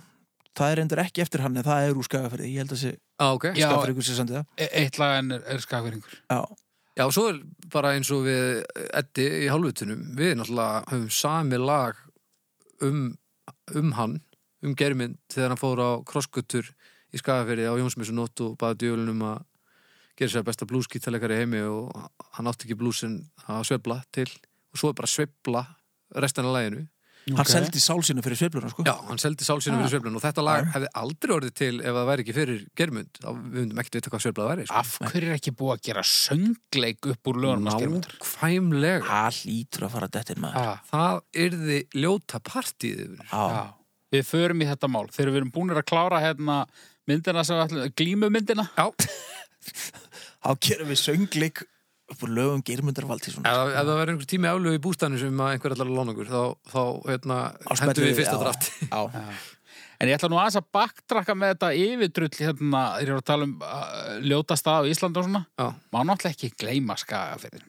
Það er endur ekki eftir hann en það er úr skagaferði Ég held að sé Já, ok. Já. skagaferði sem sendi það E eitt lag en er, er skagfyrringur. Já, Já, og svo er bara eins og við Eddi í hálfutunum, við náttúrulega höfum sami lag um, um hann, um Germynd þegar hann fór á krossgötur í Skagafyrði á Jónsmessunótt og baði djöflunum að gera sér besta blúskítalekari heimi og hann átti ekki blúsin að sveifla til og svo er bara sveifla restan af laginu. hann seldi sál sína fyrir sveifluna sko Já, hann seldi sál sínum fyrir sveiflun og þetta lag hefði aldrei orðið til ef það væri ekki fyrir Germynd þá við hundum ekkert vita hvað sveiflað væri. sko. Af hverju er ekki búið að gera söngleik upp úr lögunum að skermundur? Nákvæmlega. Það lítur að fara dettin maður. Já, Það yrði ljóta partíð yfir. Já. Við förum í þetta mál. Þegar við erum búinir að klára hérna myndina sem við ætlum, glímumyndina. Já, ef, Þá gerum við söngleik upp úr lögum Geirmundar Valtísson. það- ef það verður einhver tími álögu í bústæðinu sem að einhver allar að lána okkur, þá, þá hérna, spjallið, hendur við í fyrsta já. draft. Já. En ég ætla nú aðeins að baktrakka með þetta yfirdrull hérna, þegar ég er að tala um uh, ljóta stað á Íslandi og svona. Já, Má náttúrulega ekki gleyma skagafyrðin.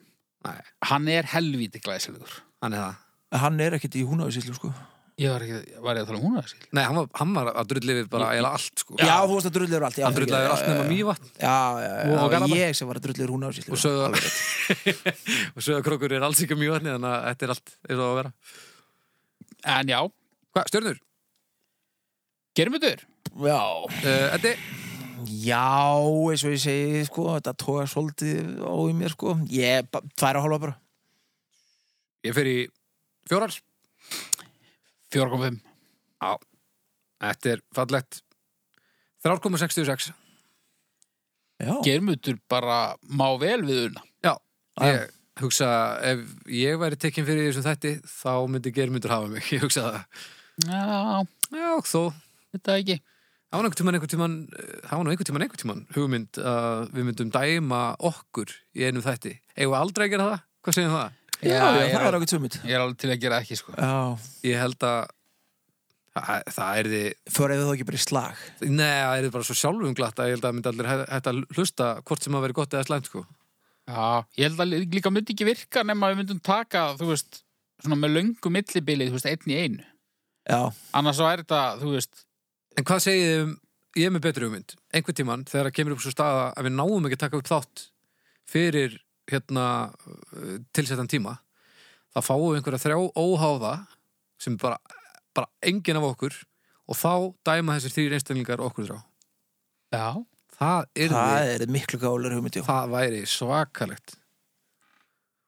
Nei. Hann er helvíti glæsilegur. hann er það. Hann er ekkit í húnavísíslu, sko. Ég var, ekki, var ég að tala um hún að Nei, hann var, hann var að drulli við bara eiginlega allt, sko. Já, þú veist að drulliður allt. Já, Hann drullaði við já, allt já, nema já. mývatn Já, já, já, Og- og já, Garðabæ. ég sem var að drulliður húnavísíslu. og sögða og sögða krókur er alls ekki á mývatni þannig að þetta er allt eins og á að vera. En já, Hvað, stjörnur? gerumutur. Já. Uh, Eddi? Já, eins og ég segi, sko, þetta tóða svolítið á í mér, sko. Ég, ba- tvær og halva bara. Ég fer í fjórar. 4.5. Já. Þetta er fallegt. 3,66. Já. Gerumutur bara má vel við una. Já, Já. ég hugsa ef ég væri tekinn fyrir þessum þætti þá myndi Geirmundur hafa mig, ég hugsa það Já, Já, og þó, þetta ekki. það var nú einhvern tímann einhvern tímann, eh, það var nú einhvern tímann einhvern tímann hugmynd að við myndum dæma okkur í einum þætti, eigum við aldrei að gera það? Hvað segjum það? Já, já, Já, það já. var okkur tvömynd. Ég er alveg til að gera ekki, sko. Já. Ég held að það, það er þið Föraði þau ekki bara í slag. Nei, það er þið bara svo sjálfum glatt að ég held að myndi allir hæ- hætta að hlusta hvort sem að vera gott eða slæmt sko. Já, ég held að lí- líka myndi ekki virka nema við myndum taka, þú veist, svona með löngu millibilið, þú veist, einn í einu. Já. Annars svo er þetta, þú veist, En hvað segið þið um, ég er með betri hugmynd, einhvern tímann þegar það kemur upp svo staða að við náum ekki að taka upp þátt fyrir hérna uh, tilsettan tíma, þá fáum við einhverja þrjá óháða sem er bara, bara engin af okkur og þá dæma þessir þrýr einstaklingar okkur þrjá. já, Það er það, Það er miklu gálar hugmynd, já. væri svakalegt.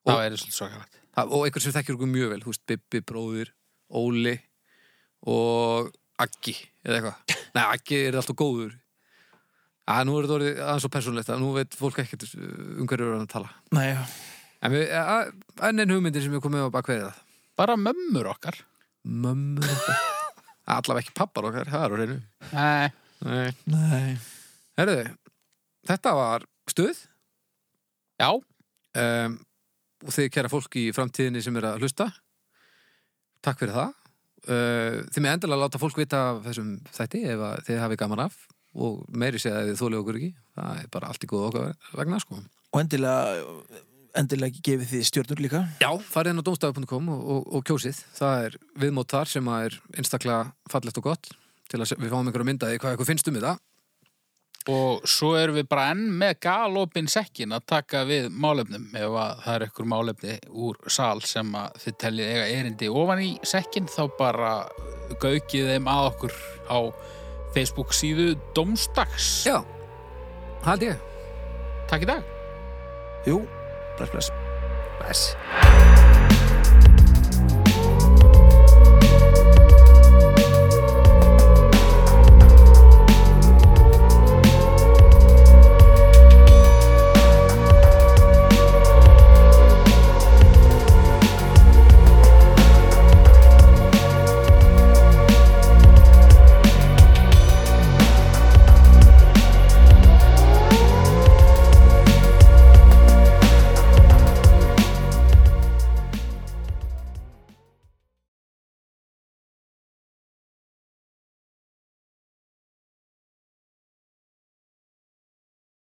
Og- það er svolítið svakalegt. Það, og einhver sem þekkir okkur mjög vel, þú veist, Bibbi, bróðir, Óli og Aggi, eða eitthvað. Nei, Aggi er alltaf góður. Að nú er þetta orðið aðeins og persónlegt að nú veit fólk ekkert uh, um hverju við erum að tala. Nei, já. En við, að, enn einn hugmyndin sem við komum með á bakverðið það. Bara mömmur okkar. Mömmur okkar. Allavega ekki pappar okkar, það er á reynu. Nei, Nei. Nei. Herðu, þetta var stuð. já, um, og þið kæra fólk í framtíðinni sem er að hlusta Eh, takk fyrir það uh, þið með endilega láta fólk vita af þessum þætti ef að þið hafið gaman af og meiri segja að þið þólið okkur ekki það er bara allt í góð okkar vegna sko og endilega endilega ekki gefið því stjörnur líka Já, farið inn á domstafu.com og, og, og kjósið það er viðmót þar sem að er einstaklega fallegt og gott til að se- við fáum einhverja myndaði hvað eitthvað finnst um þetta Og svo erum við bara enn með galopin sekkin að taka við málefnum ef að það er ykkur málefni úr sal sem að þið teljið eiga erindi ofan í sekkin þá bara gaukið þeim að okkur á Facebook síðu Dómstags. Já, hald ég Takk í dag. Jú, bless bless Bless